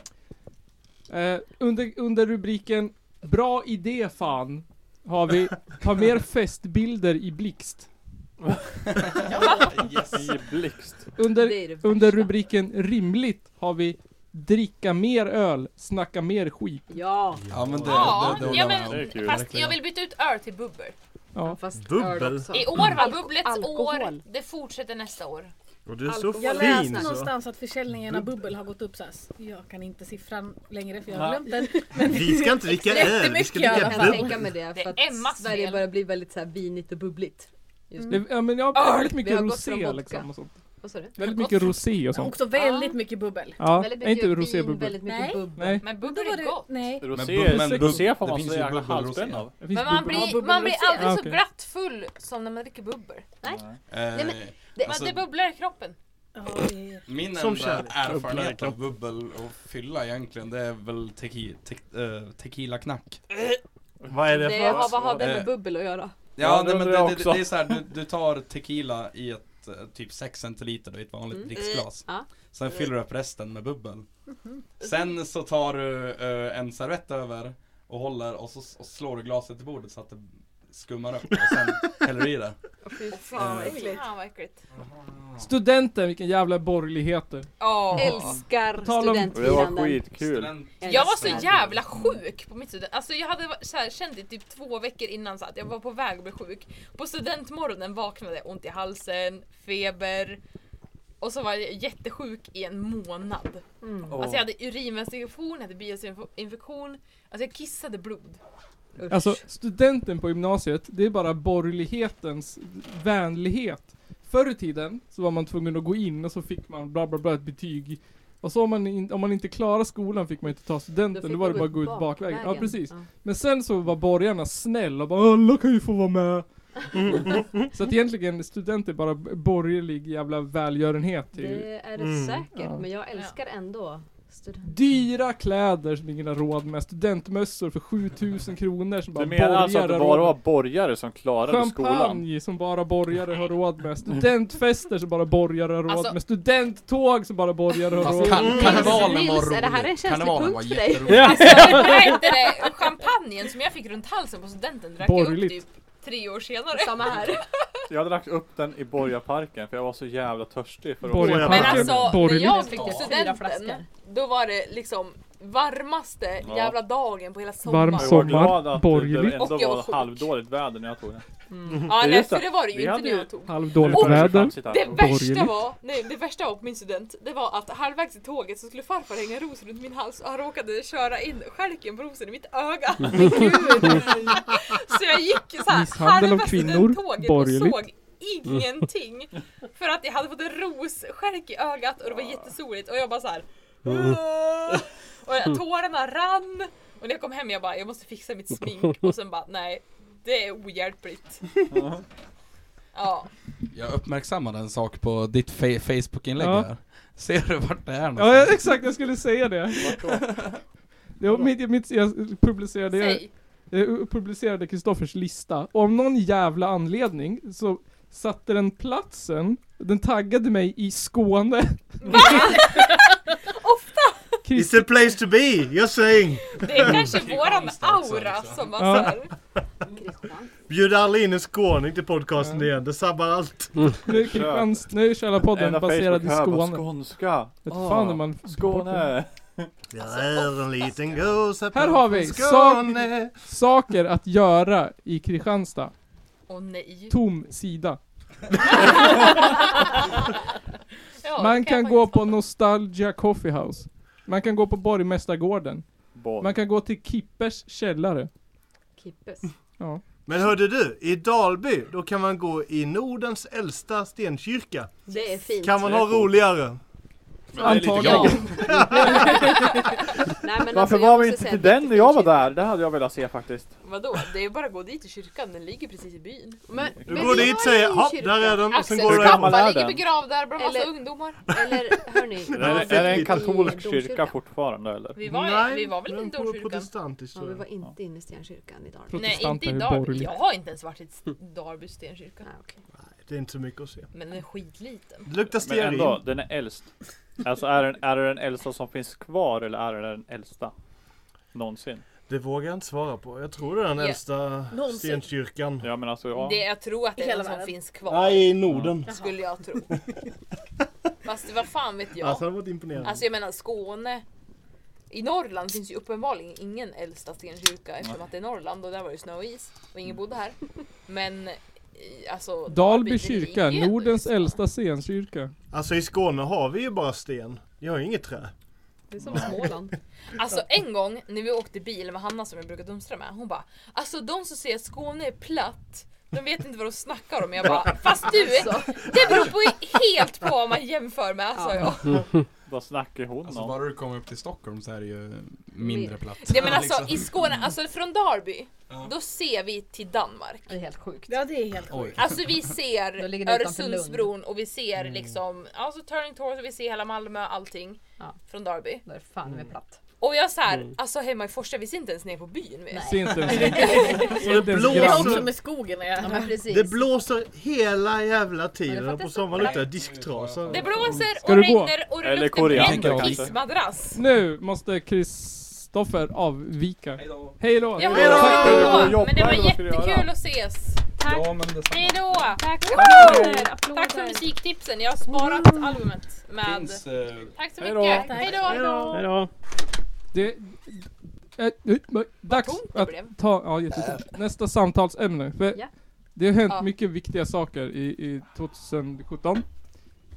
[SPEAKER 1] Eh, under, under rubriken Bra idé fan har vi Ta mer festbilder i blixt.
[SPEAKER 2] I blixt.
[SPEAKER 1] Under,
[SPEAKER 4] Det är det
[SPEAKER 1] under
[SPEAKER 4] värsta.
[SPEAKER 1] rubriken Rimligt har vi Dricka mer öl, snacka mer skit.
[SPEAKER 4] Ja!
[SPEAKER 5] Ja men det,
[SPEAKER 9] Ja,
[SPEAKER 5] det, det, det
[SPEAKER 9] ja
[SPEAKER 2] Det
[SPEAKER 9] men
[SPEAKER 2] är kul.
[SPEAKER 9] fast
[SPEAKER 5] Verkligen.
[SPEAKER 9] jag vill byta ut öl till bubbel.
[SPEAKER 1] Ja.
[SPEAKER 4] Fast
[SPEAKER 3] Bubbel.
[SPEAKER 4] öl också.
[SPEAKER 9] I år var
[SPEAKER 4] Alko-
[SPEAKER 9] bubblets
[SPEAKER 4] alkohol.
[SPEAKER 9] år. Det fortsätter nästa år.
[SPEAKER 3] Och du är så
[SPEAKER 8] Jag läste
[SPEAKER 3] fin så.
[SPEAKER 8] någonstans att försäljningen av bubbel har gått upp så här. Jag kan inte siffran längre för jag har glömt den.
[SPEAKER 3] Vi ska inte dricka öl, vi ska
[SPEAKER 8] Jättemycket i alla
[SPEAKER 3] dricka
[SPEAKER 4] Jag
[SPEAKER 8] fall.
[SPEAKER 4] kan
[SPEAKER 3] bubbel.
[SPEAKER 4] tänka mig det,
[SPEAKER 9] Det
[SPEAKER 4] för
[SPEAKER 9] är
[SPEAKER 4] att
[SPEAKER 9] Emmas
[SPEAKER 4] Sverige
[SPEAKER 9] fel.
[SPEAKER 4] börjar bli väldigt så här vinigt och bubbligt. Just nu.
[SPEAKER 1] Det, ja men jag
[SPEAKER 9] Öl!
[SPEAKER 1] har väldigt
[SPEAKER 4] Mm. Vi
[SPEAKER 1] mycket
[SPEAKER 4] har gått från
[SPEAKER 1] rosé
[SPEAKER 4] vodka.
[SPEAKER 1] liksom och sånt.
[SPEAKER 4] Vad sa du?
[SPEAKER 1] Väldigt mycket rosé och sånt.
[SPEAKER 8] Också väldigt mycket bubbel.
[SPEAKER 1] Ja,
[SPEAKER 4] Väldigt
[SPEAKER 1] är inte
[SPEAKER 4] mycket
[SPEAKER 1] rosé
[SPEAKER 4] vin,
[SPEAKER 1] bubbel.
[SPEAKER 4] väldigt mycket
[SPEAKER 8] Nej.
[SPEAKER 4] bubbel.
[SPEAKER 1] Nej,
[SPEAKER 9] Men
[SPEAKER 8] Då
[SPEAKER 9] bubbel
[SPEAKER 8] var
[SPEAKER 9] är
[SPEAKER 8] det,
[SPEAKER 9] gott.
[SPEAKER 8] nej.
[SPEAKER 2] Rosé,
[SPEAKER 5] men-
[SPEAKER 2] rosé får
[SPEAKER 5] det
[SPEAKER 2] man
[SPEAKER 5] finns
[SPEAKER 2] så
[SPEAKER 5] ju
[SPEAKER 2] jävla
[SPEAKER 5] bubbel och rosé.
[SPEAKER 2] halsbränn av.
[SPEAKER 1] det finns
[SPEAKER 9] Men man
[SPEAKER 1] bubbel.
[SPEAKER 8] Ja,
[SPEAKER 9] blir,
[SPEAKER 8] bubbel
[SPEAKER 9] man blir
[SPEAKER 8] rosé.
[SPEAKER 9] aldrig
[SPEAKER 1] Ja,
[SPEAKER 9] så
[SPEAKER 1] okej.
[SPEAKER 9] glatt full som när man dricker bubbel.
[SPEAKER 5] Eh,
[SPEAKER 4] men
[SPEAKER 9] Det,
[SPEAKER 5] Alltså-
[SPEAKER 9] det bubblar i kroppen.
[SPEAKER 8] Ja, det är-
[SPEAKER 5] Min
[SPEAKER 3] Som
[SPEAKER 5] enda
[SPEAKER 3] kärlek.
[SPEAKER 5] erfarenhet av bubbel och fylla egentligen det är väl tequi, te, eh, tequila knack.
[SPEAKER 3] Vad är det
[SPEAKER 4] Det har,
[SPEAKER 3] för
[SPEAKER 4] vad har det
[SPEAKER 5] Eh.
[SPEAKER 4] med bubbel att göra?
[SPEAKER 5] Ja,
[SPEAKER 2] Ja,
[SPEAKER 5] nej,
[SPEAKER 2] det
[SPEAKER 5] men det,
[SPEAKER 2] undrar jag
[SPEAKER 5] det, det
[SPEAKER 2] också.
[SPEAKER 5] är så här, du, du tar tequila i ett eh, typ 6 centiliter då, i ett vanligt
[SPEAKER 4] Mm.
[SPEAKER 5] dricksglas.
[SPEAKER 4] Ja. Mhm.
[SPEAKER 5] Sen fyller du upp resten med bubbel. Sen så tar du eh, en servett över och håller och så och slår du glaset i bordet så att det skummar upp och sen häller du i det.
[SPEAKER 9] Åh, fan vad
[SPEAKER 5] Eh.
[SPEAKER 9] äckligt. Fan vad äckligt.
[SPEAKER 1] Studenten, vilken jävla borgerlighet det är.
[SPEAKER 9] Åh.
[SPEAKER 4] Älskar
[SPEAKER 1] På tal om-
[SPEAKER 2] Det var
[SPEAKER 4] studentfiranden.
[SPEAKER 2] skitkul.
[SPEAKER 9] Jag var så jävla sjuk på mitt student... Alltså jag hade va- så här, känt det typ två veckor innan så att jag var på väg att bli sjuk. På studentmorgonen vaknade jag ont i halsen, feber. Och så var jag jättesjuk i en månad.
[SPEAKER 4] Mm.
[SPEAKER 9] Alltså jag hade urinvägsinfektion, jag hade biosinfektion. Alltså jag kissade blod.
[SPEAKER 1] Alltså studenten på gymnasiet, det är bara borgerlighetens vänlighet. Förr i tiden så var man tvungen att gå in och så fick man bla bla bla ett betyg. Och så om man, in, om man inte klarade skolan fick man inte ta
[SPEAKER 4] Då
[SPEAKER 1] studenten,
[SPEAKER 4] fick
[SPEAKER 1] då var det
[SPEAKER 4] du
[SPEAKER 1] bara
[SPEAKER 4] gå
[SPEAKER 1] att gå ut
[SPEAKER 4] bak-
[SPEAKER 1] bakvägen. Ja
[SPEAKER 4] vägen.
[SPEAKER 1] precis.
[SPEAKER 4] Ja.
[SPEAKER 1] Men sen så var borgarna snäll och bara alla kan ju få vara med. så att egentligen student är bara borgerlig jävla välgörenhet. Det är ju
[SPEAKER 4] Det är det
[SPEAKER 3] Mm.
[SPEAKER 4] säkert,
[SPEAKER 1] Ja.
[SPEAKER 4] men jag älskar ändå student.
[SPEAKER 1] Dyra kläder som ingen har råd med, studentmössor för 7000 kronor som bara
[SPEAKER 2] Du menar alltså att det
[SPEAKER 1] har
[SPEAKER 2] bara
[SPEAKER 1] råd
[SPEAKER 2] var
[SPEAKER 1] med.
[SPEAKER 2] borgare som klarade skolan?
[SPEAKER 1] Champagne som bara borgare har råd med, studentfester som bara borgare har råd
[SPEAKER 9] Alltså-
[SPEAKER 1] med, studenttåg som bara borgare har råd
[SPEAKER 5] Fast
[SPEAKER 1] med.
[SPEAKER 5] Alltså, kan, karnevalen
[SPEAKER 4] Nils,
[SPEAKER 5] var
[SPEAKER 4] är
[SPEAKER 5] rolig.
[SPEAKER 4] det här en känslig
[SPEAKER 5] karnevalen var
[SPEAKER 4] punkt för dig?
[SPEAKER 5] jätterolig.
[SPEAKER 9] Vad hette det? Champagnen som jag fick runt halsen på studenten drack jag upp
[SPEAKER 1] Borgerligt.
[SPEAKER 9] typ tre år senare.
[SPEAKER 4] Samma här.
[SPEAKER 2] Jag drack upp den i borgarparken för jag var så jävla törstig för att
[SPEAKER 1] Borgarparken,
[SPEAKER 9] Men alltså, när
[SPEAKER 1] borgerligt.
[SPEAKER 9] jag
[SPEAKER 4] fick jag
[SPEAKER 9] fick
[SPEAKER 4] fyra flaskor.
[SPEAKER 9] studenten, då var det liksom varmaste
[SPEAKER 2] Ja.
[SPEAKER 9] jävla dagen på hela sommaren.
[SPEAKER 1] Varm
[SPEAKER 2] Jag var
[SPEAKER 1] sommar,
[SPEAKER 2] glad att
[SPEAKER 1] borgerligt.
[SPEAKER 2] det ändå
[SPEAKER 9] Och jag var
[SPEAKER 2] var
[SPEAKER 9] sjuk.
[SPEAKER 2] halvdåligt väder när jag tog den.
[SPEAKER 9] Ja,
[SPEAKER 2] Det är
[SPEAKER 9] nej,
[SPEAKER 2] just
[SPEAKER 9] för
[SPEAKER 2] det.
[SPEAKER 9] det var det ju
[SPEAKER 2] Vi
[SPEAKER 9] inte
[SPEAKER 2] hade
[SPEAKER 9] när
[SPEAKER 2] ju-
[SPEAKER 9] jag tog.
[SPEAKER 1] Halvdåligt
[SPEAKER 2] Nu är det
[SPEAKER 1] väder.
[SPEAKER 2] tramsigt här.
[SPEAKER 9] Det värsta
[SPEAKER 1] Borgerligt.
[SPEAKER 9] var, nej det värsta var på min student, det var att halvvägs i tåget så skulle farfar hänga en ros runt min hals och han råkade köra in stjälken på rosen i mitt öga. Men gud! så jag gick så här
[SPEAKER 1] Misshandel av
[SPEAKER 9] halva
[SPEAKER 1] kvinnor,
[SPEAKER 9] studenttåget och
[SPEAKER 1] borgerligt. Mm.
[SPEAKER 9] såg ingenting. För att jag hade fått en rosstjälk i ögat och det var jättesoligt och jag bara så här.
[SPEAKER 1] Ah.
[SPEAKER 9] "Åh!" Och tårarna rann och när jag kom hem jag bara jag måste fixa mitt smink och sen bara nej det är ohjälpligt. Ja.
[SPEAKER 5] Jag uppmärksammade en sak på ditt fe- Facebook-inlägg
[SPEAKER 1] Ja.
[SPEAKER 5] där. Ser du vart det är någonstans?
[SPEAKER 1] Ja exakt, jag skulle säga det.
[SPEAKER 2] Vart då?
[SPEAKER 1] det var mitt, mitt, jag publicerade
[SPEAKER 9] Säg.
[SPEAKER 1] Jag Eh, publicerade Kristoffers lista, och av någon jävla anledning så satte den platsen, den taggade mig i Skåne. Ofta!
[SPEAKER 3] It's a place to be, you're saying!
[SPEAKER 9] Det är kanske våran
[SPEAKER 5] Kristianstad också,
[SPEAKER 9] aura
[SPEAKER 5] liksom.
[SPEAKER 9] som var
[SPEAKER 1] Ja.
[SPEAKER 9] såhär.
[SPEAKER 4] Christian.
[SPEAKER 3] Bjud aldrig in en skåning till podcasten igen, det sabbar allt.
[SPEAKER 1] Nu är Kristianst- nu är Källarpodden
[SPEAKER 2] Enda
[SPEAKER 1] baserad i
[SPEAKER 2] Facebook-hög var
[SPEAKER 1] Skåne.
[SPEAKER 2] skånska.
[SPEAKER 1] Vet
[SPEAKER 9] Ah.
[SPEAKER 1] fan när man...
[SPEAKER 2] Skåne!
[SPEAKER 3] Jag är en liten gosse
[SPEAKER 1] Här har vi
[SPEAKER 3] Skåne.
[SPEAKER 1] Saker att göra i Kristianstad.
[SPEAKER 9] Åh nej.
[SPEAKER 1] Tom sida.
[SPEAKER 9] Ja, det
[SPEAKER 1] Man
[SPEAKER 9] jag
[SPEAKER 1] kan
[SPEAKER 9] faktiskt
[SPEAKER 1] gå på
[SPEAKER 9] fatta.
[SPEAKER 1] Nostalgia Coffee House. Man kan gå på Borgmästargården.
[SPEAKER 2] Boll.
[SPEAKER 1] Man kan gå till Kippers källare.
[SPEAKER 4] Kippes.
[SPEAKER 1] Ja.
[SPEAKER 3] Men hörde du, i Dalby, då kan man gå i Nordens äldsta stenkyrka.
[SPEAKER 4] Det är fint.
[SPEAKER 3] Kan man ha roligare?
[SPEAKER 1] Antagligen.
[SPEAKER 4] Nej, men
[SPEAKER 2] Varför
[SPEAKER 4] alltså, jag
[SPEAKER 2] var vi
[SPEAKER 4] måste
[SPEAKER 2] inte
[SPEAKER 4] säga
[SPEAKER 2] till
[SPEAKER 4] att det är
[SPEAKER 2] den när jag var
[SPEAKER 4] jättekul.
[SPEAKER 2] där? Det hade jag velat se faktiskt.
[SPEAKER 9] Vadå? Det är bara att gå dit till kyrkan, den ligger precis i byn.
[SPEAKER 4] Men,
[SPEAKER 3] Du
[SPEAKER 4] men
[SPEAKER 3] går
[SPEAKER 4] vi
[SPEAKER 3] dit
[SPEAKER 4] har
[SPEAKER 3] och säger
[SPEAKER 4] ju
[SPEAKER 3] hopp,
[SPEAKER 4] kyrkan."
[SPEAKER 3] där är den och sen
[SPEAKER 9] Axels
[SPEAKER 3] går du
[SPEAKER 2] gammal
[SPEAKER 3] hem.
[SPEAKER 9] pappa
[SPEAKER 2] är
[SPEAKER 9] ligger
[SPEAKER 2] den?
[SPEAKER 9] begravd där bland massa
[SPEAKER 4] Eller-
[SPEAKER 9] ungdomar.
[SPEAKER 4] Eller hörni.
[SPEAKER 2] Är det, är det en katolsk
[SPEAKER 4] I domkyrkan.
[SPEAKER 2] kyrka fortfarande eller?
[SPEAKER 9] Vi var,
[SPEAKER 3] Nej,
[SPEAKER 9] vi var väl
[SPEAKER 3] den
[SPEAKER 9] inte i
[SPEAKER 3] går
[SPEAKER 9] domkyrkan?
[SPEAKER 3] protestantiskt,
[SPEAKER 4] Ja,
[SPEAKER 3] tror
[SPEAKER 4] vi
[SPEAKER 3] jag.
[SPEAKER 4] var inte inne i Stenkyrkan idag.
[SPEAKER 9] Nej, inte i
[SPEAKER 1] Protestanter är
[SPEAKER 9] Darby.
[SPEAKER 1] borgerliga.
[SPEAKER 9] Jag har inte ens varit i Darby stenkyrka.
[SPEAKER 4] Nej, okej.
[SPEAKER 3] Det är inte så mycket att se.
[SPEAKER 9] Men den är skitliten.
[SPEAKER 3] Det luktar
[SPEAKER 2] Men ändå,
[SPEAKER 3] stearin.
[SPEAKER 2] den är äldst. Alltså är, den, är det den äldsta som finns kvar eller är det den äldsta? Någonsin?
[SPEAKER 3] Det vågar jag inte svara på. Jag tror det är den
[SPEAKER 9] Ja.
[SPEAKER 3] äldsta
[SPEAKER 8] Någonsin.
[SPEAKER 3] stenkyrkan.
[SPEAKER 2] Ja men alltså ja.
[SPEAKER 9] Det, jag tror att det
[SPEAKER 8] I
[SPEAKER 9] är
[SPEAKER 8] hela
[SPEAKER 9] den som
[SPEAKER 8] världen.
[SPEAKER 9] finns kvar.
[SPEAKER 7] Nej, i Norden.
[SPEAKER 9] Skulle jag tro. Fast vad fan vet
[SPEAKER 3] Alltså det
[SPEAKER 9] jag? Alltså,
[SPEAKER 3] hade varit
[SPEAKER 1] mm.
[SPEAKER 3] imponerande.
[SPEAKER 9] jag menar Skåne. I Norrland finns ju uppenbarligen ingen äldsta stenkyrka eftersom att det är Norrland och där var det snö och is och ingen bodde här. Men i- alltså
[SPEAKER 1] Mm. Dalby
[SPEAKER 9] det ligger
[SPEAKER 1] kyrka,
[SPEAKER 9] ju ändå
[SPEAKER 1] Nordens
[SPEAKER 9] i Skåne.
[SPEAKER 1] äldsta scenkyrka.
[SPEAKER 3] Alltså i Skåne har vi ju bara sten. Vi har ju inget trä.
[SPEAKER 4] Det är som Småland.
[SPEAKER 9] Alltså en gång när vi åkte bil med Hanna som jag brukar dumstra med, hon bara Alltså de som säger att Skåne är platt de vet inte vad de snackar om. Jag bara, fast du,
[SPEAKER 4] Alltså.
[SPEAKER 9] det beror på helt på vad man jämför med alltså." sa jag.
[SPEAKER 2] Vad snackar hon
[SPEAKER 5] Alltså
[SPEAKER 2] om?
[SPEAKER 5] bara du kommer upp till Stockholm så är det ju
[SPEAKER 4] mindre
[SPEAKER 5] mindre Liksom. platt.
[SPEAKER 9] Ja men alltså i Skåne, alltså från Darby, då ser vi till Danmark.
[SPEAKER 4] Det är helt sjukt.
[SPEAKER 8] Ja det är helt sjukt.
[SPEAKER 5] Oj.
[SPEAKER 9] Alltså vi ser
[SPEAKER 4] Då ligger det utanför Mm.
[SPEAKER 9] Öresundsbron och vi ser liksom, alltså Turning Torso, vi ser hela Malmö, allting.
[SPEAKER 4] Ja.
[SPEAKER 9] Från Darby.
[SPEAKER 4] Där är fan med platt.
[SPEAKER 9] Och jag såhär, alltså hemma i Forsa, vi ser inte ens ner på byn. Vi.
[SPEAKER 1] Ser inte ens,
[SPEAKER 3] det
[SPEAKER 1] inte ens
[SPEAKER 3] blåser.
[SPEAKER 8] Det är
[SPEAKER 1] grann.
[SPEAKER 8] också med skogen.
[SPEAKER 4] Ja,
[SPEAKER 8] Ja.
[SPEAKER 4] men precis.
[SPEAKER 3] Det blåser hela jävla
[SPEAKER 4] Men det är för
[SPEAKER 3] tiden
[SPEAKER 4] att det är
[SPEAKER 3] på
[SPEAKER 4] så
[SPEAKER 3] sommaren
[SPEAKER 4] kallt.
[SPEAKER 3] luktar det disktrasa.
[SPEAKER 9] Det blåser
[SPEAKER 1] Ska
[SPEAKER 9] och
[SPEAKER 1] du gå?
[SPEAKER 9] regnar och det
[SPEAKER 2] Eller
[SPEAKER 9] luktar
[SPEAKER 2] koriander
[SPEAKER 9] bränd
[SPEAKER 5] kanske?
[SPEAKER 9] kissmadrass.
[SPEAKER 1] Nu måste Kristoffer avvika. Hejdå!
[SPEAKER 9] Jag
[SPEAKER 1] Hejdå.
[SPEAKER 2] Tack för att du var och
[SPEAKER 9] har
[SPEAKER 2] jobbade,
[SPEAKER 9] men det var
[SPEAKER 2] vad ska du
[SPEAKER 9] jättekul
[SPEAKER 2] göra?
[SPEAKER 9] att ses.
[SPEAKER 5] Ja men detsamma.
[SPEAKER 9] Hej då!
[SPEAKER 4] Tack.
[SPEAKER 9] Tack för musiktipsen, jag har sparat albumet med...
[SPEAKER 5] Finns, eh,
[SPEAKER 9] Tack så
[SPEAKER 2] Hej då.
[SPEAKER 9] mycket! Hej då!
[SPEAKER 6] Hej då.
[SPEAKER 1] Det... eh, nu- men Dags
[SPEAKER 9] tomt det
[SPEAKER 1] att
[SPEAKER 9] blev.
[SPEAKER 1] ta ja, jättetomt. nästa samtalsämne. För
[SPEAKER 4] Ja.
[SPEAKER 1] Det har hänt
[SPEAKER 9] Ja.
[SPEAKER 1] mycket viktiga saker i, i 2017.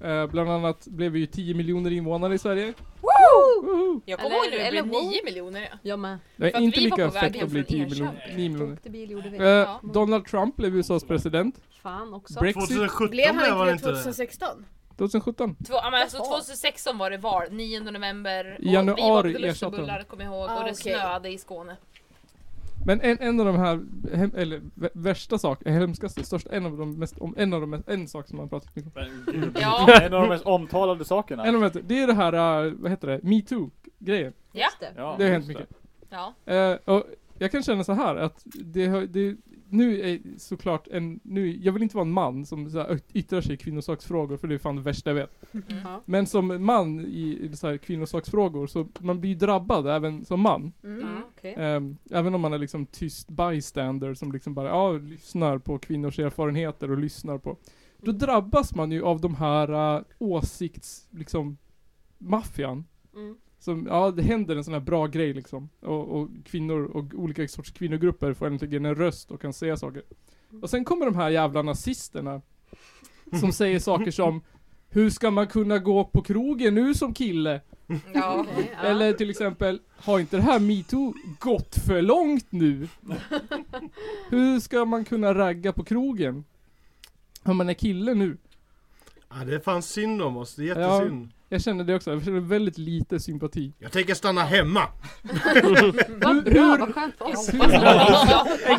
[SPEAKER 1] Eh, bland annat blev vi ju 10 miljoner invånare i Sverige. Woho!
[SPEAKER 9] Jag kommer
[SPEAKER 4] Eller-
[SPEAKER 9] ihåg när det
[SPEAKER 4] eller
[SPEAKER 9] blev
[SPEAKER 4] wow.
[SPEAKER 9] 9 miljoner. ja.
[SPEAKER 4] Jag med.
[SPEAKER 1] Det
[SPEAKER 9] För
[SPEAKER 1] är
[SPEAKER 9] att
[SPEAKER 1] inte
[SPEAKER 9] vi var
[SPEAKER 1] lika
[SPEAKER 9] på väg
[SPEAKER 1] fett
[SPEAKER 9] hem
[SPEAKER 1] att bli
[SPEAKER 9] från
[SPEAKER 1] 10 miljoner.
[SPEAKER 9] Enköping.
[SPEAKER 1] 9 miljoner.
[SPEAKER 4] Åkte bil gjorde vi.
[SPEAKER 1] Eh,
[SPEAKER 9] Ja.
[SPEAKER 1] Donald Trump blev USAs president.
[SPEAKER 4] Fan också.
[SPEAKER 1] Brexit
[SPEAKER 3] 2017
[SPEAKER 8] Blev
[SPEAKER 3] blev
[SPEAKER 8] han
[SPEAKER 3] han
[SPEAKER 8] inte det
[SPEAKER 3] inte det?
[SPEAKER 8] 2016?
[SPEAKER 1] 2017.
[SPEAKER 9] Två, ja, men alltså
[SPEAKER 8] Jaha.
[SPEAKER 9] 2016 var det val, 9 november.
[SPEAKER 1] I januari
[SPEAKER 9] vi
[SPEAKER 1] ersatte
[SPEAKER 9] åt
[SPEAKER 1] de.
[SPEAKER 9] lussebullar kommer jag ihåg
[SPEAKER 8] Ah,
[SPEAKER 9] och det
[SPEAKER 8] okej.
[SPEAKER 9] snöade i Skåne.
[SPEAKER 1] Men en, en av de här, hem, eller vä- värsta saker, hemskaste, största, en av de mest, om, en av de mest, en sak som man pratat mycket om.
[SPEAKER 2] Men gud.
[SPEAKER 9] Ja,
[SPEAKER 2] En av de mest omtalade sakerna.
[SPEAKER 1] En av de, här- det är det här, eh, vad heter det, metoo-grejen.
[SPEAKER 4] Just det.
[SPEAKER 2] Ja,
[SPEAKER 1] Det har hänt
[SPEAKER 2] just
[SPEAKER 1] mycket.
[SPEAKER 9] ja.
[SPEAKER 1] Eh, och jag kan känna så här att det, har- det nu är såklart en, nu, jag vill inte vara en man som så här, yttrar sig i kvinnosaksfrågor för det är fan det värsta jag vet.
[SPEAKER 9] Mm.
[SPEAKER 4] Ja.
[SPEAKER 1] Men som man i, i så här, kvinnosaksfrågor så man blir ju drabbad även som man.
[SPEAKER 4] Mm,
[SPEAKER 8] Mm.
[SPEAKER 4] okej.
[SPEAKER 2] Eh,
[SPEAKER 1] Ehm, även om man är liksom tyst bystander som liksom bara ja, lyssnar på kvinnors erfarenheter och lyssnar på. Då drabbas man ju av de här uh, åsikts, liksom, maffian.
[SPEAKER 4] Mm.
[SPEAKER 1] Som, ja det händer en sån här bra grej liksom. Och, och kvinnor och olika sorts kvinnogrupper får äntligen en röst och kan säga saker.
[SPEAKER 4] Mm.
[SPEAKER 1] Och sen kommer de här jävla nazisterna. Som säger saker som Hur ska man kunna gå på krogen nu som kille?
[SPEAKER 9] ja.
[SPEAKER 4] Okej, ja.
[SPEAKER 1] Eller till exempel, har inte det här metoo gått för långt nu? Hur ska man kunna ragga på krogen? Om man är kille nu?
[SPEAKER 3] Ja, det är fan synd om oss. Det är jättesynd.
[SPEAKER 1] Jag känner det också, jag känner väldigt lite sympati.
[SPEAKER 3] Jag tänker stanna hemma.
[SPEAKER 4] Mm. Vad bra, vad skönt för oss.
[SPEAKER 3] Lite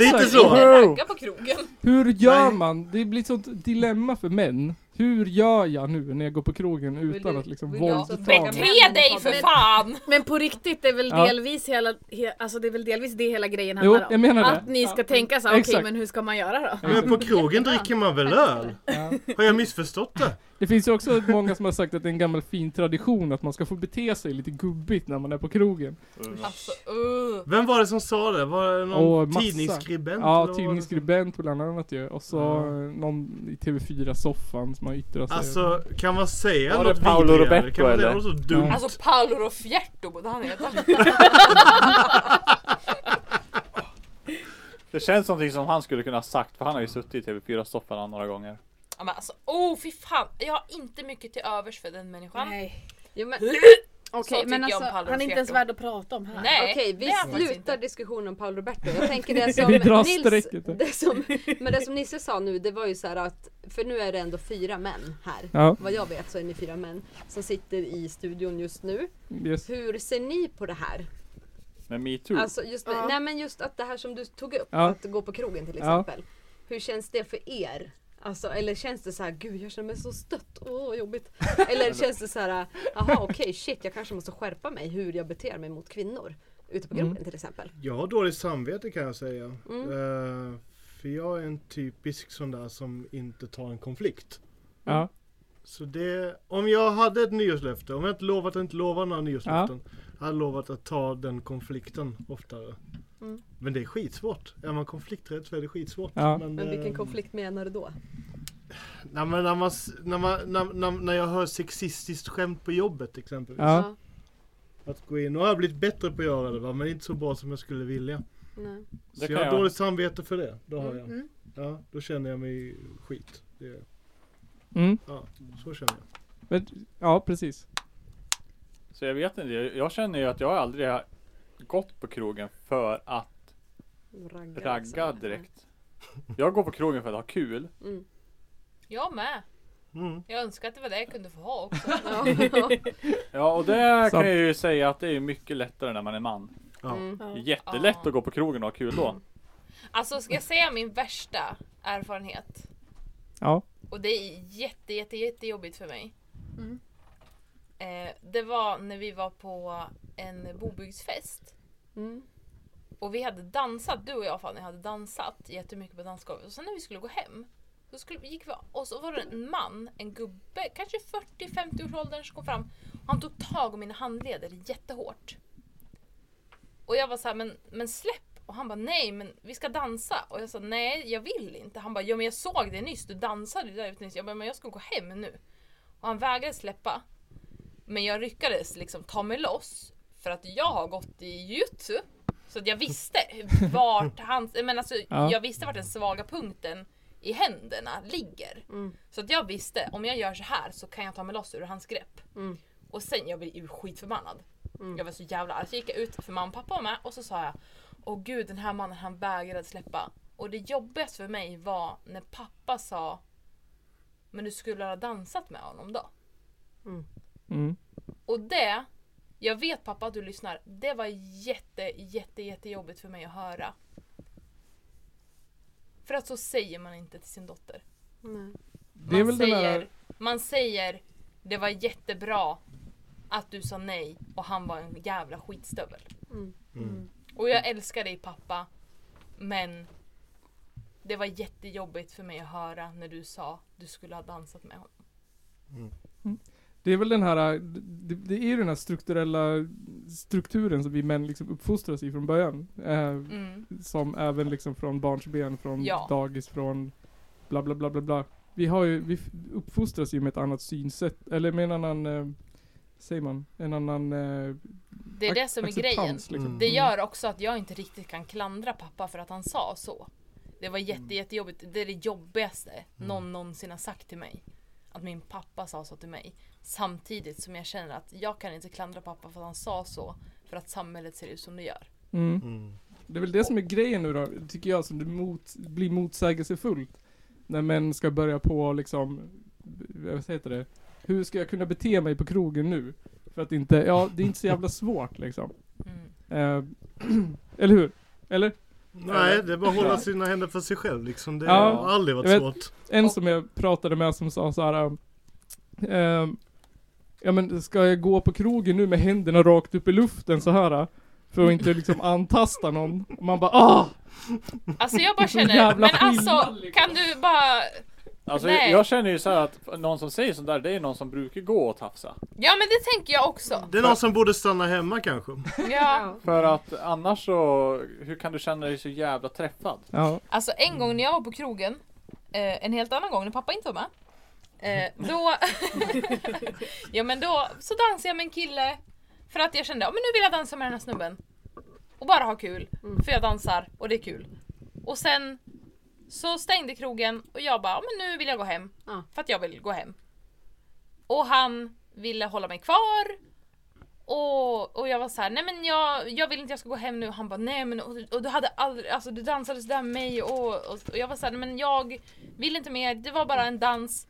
[SPEAKER 1] Exakt.
[SPEAKER 3] så.
[SPEAKER 9] Ragga på krogen.
[SPEAKER 1] Hur gör man? Det blir ett sånt dilemma för män. Hur gör jag nu när jag går på krogen utan
[SPEAKER 4] du-
[SPEAKER 1] att liksom
[SPEAKER 4] vill du
[SPEAKER 1] våldta
[SPEAKER 4] också
[SPEAKER 1] mig?
[SPEAKER 4] fråga mig?
[SPEAKER 9] Bete dig för
[SPEAKER 8] Men-
[SPEAKER 9] fan!
[SPEAKER 8] Men på riktigt, det är väl
[SPEAKER 1] Ja.
[SPEAKER 8] delvis hela, he, alltså det är väl delvis det hela grejen
[SPEAKER 1] Jo,
[SPEAKER 8] handlar om?
[SPEAKER 1] jag menar det.
[SPEAKER 8] Att ni ska tänka så här, okej
[SPEAKER 1] Exakt.
[SPEAKER 8] men hur ska man göra då?
[SPEAKER 3] Men på krogen dricker man väl öl? Har jag missförstått det?
[SPEAKER 1] Det finns ju också många som har sagt att det är en gammal fin tradition att man ska få bete sig lite gubbigt när man är på krogen.
[SPEAKER 9] Alltså, uh.
[SPEAKER 3] Vem var det som sa det? Var det någon
[SPEAKER 1] Åh, massa.
[SPEAKER 3] tidningsskribent? eller vad
[SPEAKER 1] Ja,
[SPEAKER 3] var det som-
[SPEAKER 1] tidningsskribent bland annat ju. Och så
[SPEAKER 3] Ja.
[SPEAKER 1] eh, någon i TV4-soffan som har yttrat sig.
[SPEAKER 3] Alltså, kan man säga
[SPEAKER 2] Var det
[SPEAKER 3] något
[SPEAKER 2] Paolo
[SPEAKER 3] vidrigare?
[SPEAKER 2] Roberto,
[SPEAKER 3] Kan man säga
[SPEAKER 2] eller?
[SPEAKER 3] något så dumt?
[SPEAKER 9] Alltså Paolo Roffierto borde han heta.
[SPEAKER 2] Det känns någonting som han skulle kunna ha sagt för han har ju suttit i TV4-soffan några gånger.
[SPEAKER 9] Ja, men alltså, oh fy fan. Jag har inte mycket till övers för den människan.
[SPEAKER 8] Nej.
[SPEAKER 4] Jo, men,
[SPEAKER 9] Så
[SPEAKER 4] Okej,
[SPEAKER 9] tycker
[SPEAKER 4] men
[SPEAKER 9] jag om
[SPEAKER 4] alltså,
[SPEAKER 9] Paolo
[SPEAKER 8] Han är inte ens
[SPEAKER 9] Roberto.
[SPEAKER 8] värd att prata om här.
[SPEAKER 9] Nej,
[SPEAKER 4] Okej, vi
[SPEAKER 9] det är han faktiskt
[SPEAKER 4] slutar
[SPEAKER 9] inte.
[SPEAKER 4] diskussionen om Paolo Roberto. Jag tänker det som,
[SPEAKER 1] Vi drar
[SPEAKER 4] Nils,
[SPEAKER 1] strecket där.
[SPEAKER 4] det som, men det som Nisse sa nu, det var ju så här att, för nu är det ändå fyra män här.
[SPEAKER 1] Ja,
[SPEAKER 4] Vad jag vet så är ni fyra män som sitter i studion just nu.
[SPEAKER 1] yes.
[SPEAKER 4] Hur ser ni på det här?
[SPEAKER 2] Men metoo.
[SPEAKER 4] Alltså just,
[SPEAKER 8] Ja.
[SPEAKER 4] Nej men just att det här som du tog upp,
[SPEAKER 1] Ja.
[SPEAKER 4] att gå på krogen till
[SPEAKER 1] Ja.
[SPEAKER 4] exempel. Hur känns det för er? Alltså, eller känns det så här, gud jag känner mig så stött, åh vad jobbigt. Eller känns det så här, jaha okej shit jag kanske måste skärpa mig hur jag beter mig mot kvinnor. Ute
[SPEAKER 1] Mm.
[SPEAKER 4] på krogen till exempel.
[SPEAKER 3] Jag har dåligt samvete kan jag säga.
[SPEAKER 4] Mm.
[SPEAKER 3] Eh, för jag är en typisk sån där som inte tar en konflikt.
[SPEAKER 1] Ja,
[SPEAKER 3] Så det, om jag hade ett nyårslöfte, om jag inte lovat att inte lova några nyårslöften. Jag hade lovat att ta den konflikten oftare.
[SPEAKER 4] Mm.
[SPEAKER 3] Men det är skitsvårt. Är man konflikträdd så är det skitsvårt.
[SPEAKER 1] Ja.
[SPEAKER 4] Men vilken
[SPEAKER 3] eh,
[SPEAKER 4] konflikt menar du då?
[SPEAKER 3] Nej, men när, man, s- när, man, när, när, när jag hör sexistiskt skämt på jobbet exempelvis.
[SPEAKER 1] ja.
[SPEAKER 3] Att gå in, och jag har blivit bättre på att göra det va? men inte så bra som jag skulle vilja.
[SPEAKER 4] Nej.
[SPEAKER 2] Det
[SPEAKER 3] Så
[SPEAKER 2] kan
[SPEAKER 3] jag har
[SPEAKER 2] jag.
[SPEAKER 3] dåligt samvete för det. Det har jag.
[SPEAKER 8] Mm.
[SPEAKER 3] Ja, då känner jag mig skit. Det,
[SPEAKER 1] Mm.
[SPEAKER 3] ja, så känner jag.
[SPEAKER 1] Men, ja, precis.
[SPEAKER 2] Så jag vet inte. Jag jag känner ju att jag aldrig har gått på krogen för att
[SPEAKER 4] Ragga,
[SPEAKER 2] ragga
[SPEAKER 4] liksom.
[SPEAKER 2] direkt. Jag går på krogen för att ha kul.
[SPEAKER 4] Mm.
[SPEAKER 9] Jag med.
[SPEAKER 3] Mm.
[SPEAKER 9] Jag önskar att det var det jag kunde få ha också.
[SPEAKER 4] Ja.
[SPEAKER 2] Ja och det
[SPEAKER 1] Sant.
[SPEAKER 2] kan jag ju säga att det är mycket lättare när man är man.
[SPEAKER 3] Ja.
[SPEAKER 4] Mm.
[SPEAKER 2] Det är jättelätt att gå på krogen och ha kul
[SPEAKER 1] Mm.
[SPEAKER 2] då.
[SPEAKER 9] Alltså ska jag säga min värsta erfarenhet?
[SPEAKER 1] Ja.
[SPEAKER 9] Och det är jätte, jätte, jättejobbigt för mig.
[SPEAKER 8] Mm.
[SPEAKER 9] Eh, det var när vi var på en bobygdsfest.
[SPEAKER 4] Mm.
[SPEAKER 9] Och vi hade dansat, du och jag Fanny hade dansat jättemycket på dansgolvet. Och sen när vi skulle gå hem. Så skulle, gick vi, och så var det en man, en gubbe, kanske 40-50 års åldern som kom fram. Och han tog tag i mina handleder jättehårt. Och jag var så här, men, men släpp! Och han bara, nej men vi ska dansa. Och jag sa, nej jag vill inte. Han bara, ja men jag såg det nyss, du dansade ju där ute nyss. Jag bara, men jag ska gå hem nu. Och han vägrade släppa. Men jag lyckades liksom ta mig loss. För att jag har gått i jutsu. Så att jag visste vart hans, men alltså,
[SPEAKER 1] Ja.
[SPEAKER 9] jag visste vart den svaga punkten i händerna ligger.
[SPEAKER 4] Mm.
[SPEAKER 9] Så att jag visste, om jag gör så här så kan jag ta mig loss ur hans grepp.
[SPEAKER 4] Mm.
[SPEAKER 9] Och sen, jag blev ju skitförbannad.
[SPEAKER 4] Mm.
[SPEAKER 9] Jag var så jävla arg. Så gick jag ut för mamma och pappa var med och så sa jag Åh gud den här mannen han vägrade släppa. Och det jobbigaste för mig var när pappa sa Men du skulle ha dansat med honom då?
[SPEAKER 1] Mm.
[SPEAKER 9] Och det, jag vet pappa att du lyssnar, det var jätte, jätte, jättejobbigt för mig att höra. För att så säger man inte till sin dotter.
[SPEAKER 4] Nej.
[SPEAKER 1] Det är
[SPEAKER 9] Man
[SPEAKER 1] väl den
[SPEAKER 9] säger,
[SPEAKER 1] där...
[SPEAKER 9] man säger det var jättebra att du sa nej och han var en jävla skitstövel.
[SPEAKER 4] Mm.
[SPEAKER 3] Mm.
[SPEAKER 9] Och jag älskar dig pappa, men det var jättejobbigt för mig att höra när du sa du skulle ha dansat med honom.
[SPEAKER 1] Det är väl den här, äh, det, det är ju den här strukturella strukturen som vi män liksom uppfostras i från början. Eh,
[SPEAKER 9] Mm.
[SPEAKER 1] som även liksom från barnsben, från
[SPEAKER 9] Ja.
[SPEAKER 1] dagis, från bla bla bla bla bla. Vi har ju, vi f- uppfostras ju med ett annat synsätt, eller med en annan, eh, säger man, en annan eh,
[SPEAKER 9] Det är det som är grejen.
[SPEAKER 1] acceptans, Liksom.
[SPEAKER 3] Mm.
[SPEAKER 9] Det gör också att jag inte riktigt kan klandra pappa för att han sa så. Det var
[SPEAKER 1] Mm.
[SPEAKER 9] jätte, jättejobbigt. Det är det jobbigaste någon någonsin har sagt till mig. Att min pappa sa så till mig. Samtidigt som jag känner att jag kan inte klandra pappa för att han sa så. För att samhället ser ut som det gör.
[SPEAKER 1] Mm.
[SPEAKER 3] Mm.
[SPEAKER 1] Det är väl det som är grejen nu då, tycker jag, som det mot, blir motsägelsefullt. När män ska börja på liksom, vad heter det? Hur ska jag kunna bete mig på krogen nu? För att inte, ja det är inte så jävla svårt liksom.
[SPEAKER 9] Mm.
[SPEAKER 1] Eh, eller hur? Eller?
[SPEAKER 3] Nej, det är bara att hålla sina händer för sig själv liksom. Det
[SPEAKER 1] Ja,
[SPEAKER 3] har aldrig varit
[SPEAKER 1] jag
[SPEAKER 3] svårt.
[SPEAKER 1] En
[SPEAKER 9] Och-
[SPEAKER 1] som jag pratade med som sa så här. ehm, ja men ska jag gå på krogen nu med händerna rakt upp i luften så här? För att inte liksom antasta någon. Och man bara ah!
[SPEAKER 9] Alltså jag bara
[SPEAKER 1] Vilken
[SPEAKER 9] känner,
[SPEAKER 1] jävla
[SPEAKER 9] men alltså
[SPEAKER 1] skillnad, liksom.
[SPEAKER 9] kan du bara...
[SPEAKER 2] Alltså
[SPEAKER 9] Nej.
[SPEAKER 2] jag känner ju så här att någon som säger sånt där det är någon som brukar gå och tafsa.
[SPEAKER 9] Ja men det tänker jag också.
[SPEAKER 3] Det är någon som borde stanna hemma kanske.
[SPEAKER 9] Ja.
[SPEAKER 2] För
[SPEAKER 1] Mm.
[SPEAKER 2] att annars så, hur kan du känna dig så jävla träffad?
[SPEAKER 1] Ja.
[SPEAKER 9] Alltså en gång när jag var på krogen, eh, en helt annan gång när pappa inte var med. Eh, då, ja men då så dansade jag med en kille för att jag kände att men nu vill jag dansa med den här snubben. Och bara ha kul, för jag dansar och det är kul. Och sen Så stängde krogen och jag bara, "Ja, men nu vill jag gå hem.
[SPEAKER 4] Ja.
[SPEAKER 9] För att jag vill gå hem. Och han ville hålla mig kvar. Och, och jag var så här, nej men jag, jag vill inte jag ska gå hem nu. Han bara, nej men och, och du hade aldrig, alltså du dansade sådär med mig och, och, och jag var så här, nej men jag vill inte mer, det var bara en dans.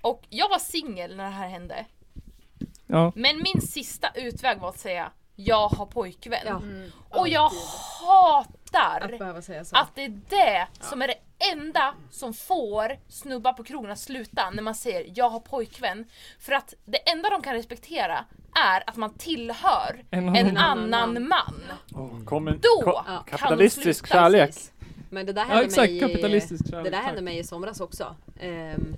[SPEAKER 9] Och jag var singel när det här hände.
[SPEAKER 1] Ja.
[SPEAKER 9] Men min sista utväg var att säga, jag har pojkvän. Mm.
[SPEAKER 4] Ja. Mm.
[SPEAKER 9] Och jag
[SPEAKER 4] Att
[SPEAKER 9] hatar
[SPEAKER 4] behöva säga så.
[SPEAKER 9] att det är det som är det enda som får snubbar på krogen att sluta när man säger jag har pojkvän. För att det enda de kan respektera är att man tillhör
[SPEAKER 1] En
[SPEAKER 9] en,
[SPEAKER 1] annan-
[SPEAKER 9] annan man.
[SPEAKER 2] Kom en,
[SPEAKER 9] Då
[SPEAKER 2] ko-
[SPEAKER 9] kan
[SPEAKER 2] kapitalistisk
[SPEAKER 9] de sluta.
[SPEAKER 2] kärlek.
[SPEAKER 4] Men det där hände
[SPEAKER 1] Ja exakt,
[SPEAKER 4] mig i...
[SPEAKER 1] kapitalistisk kärlek.
[SPEAKER 4] Det där
[SPEAKER 1] tack.
[SPEAKER 4] hände mig i somras också. Ehm,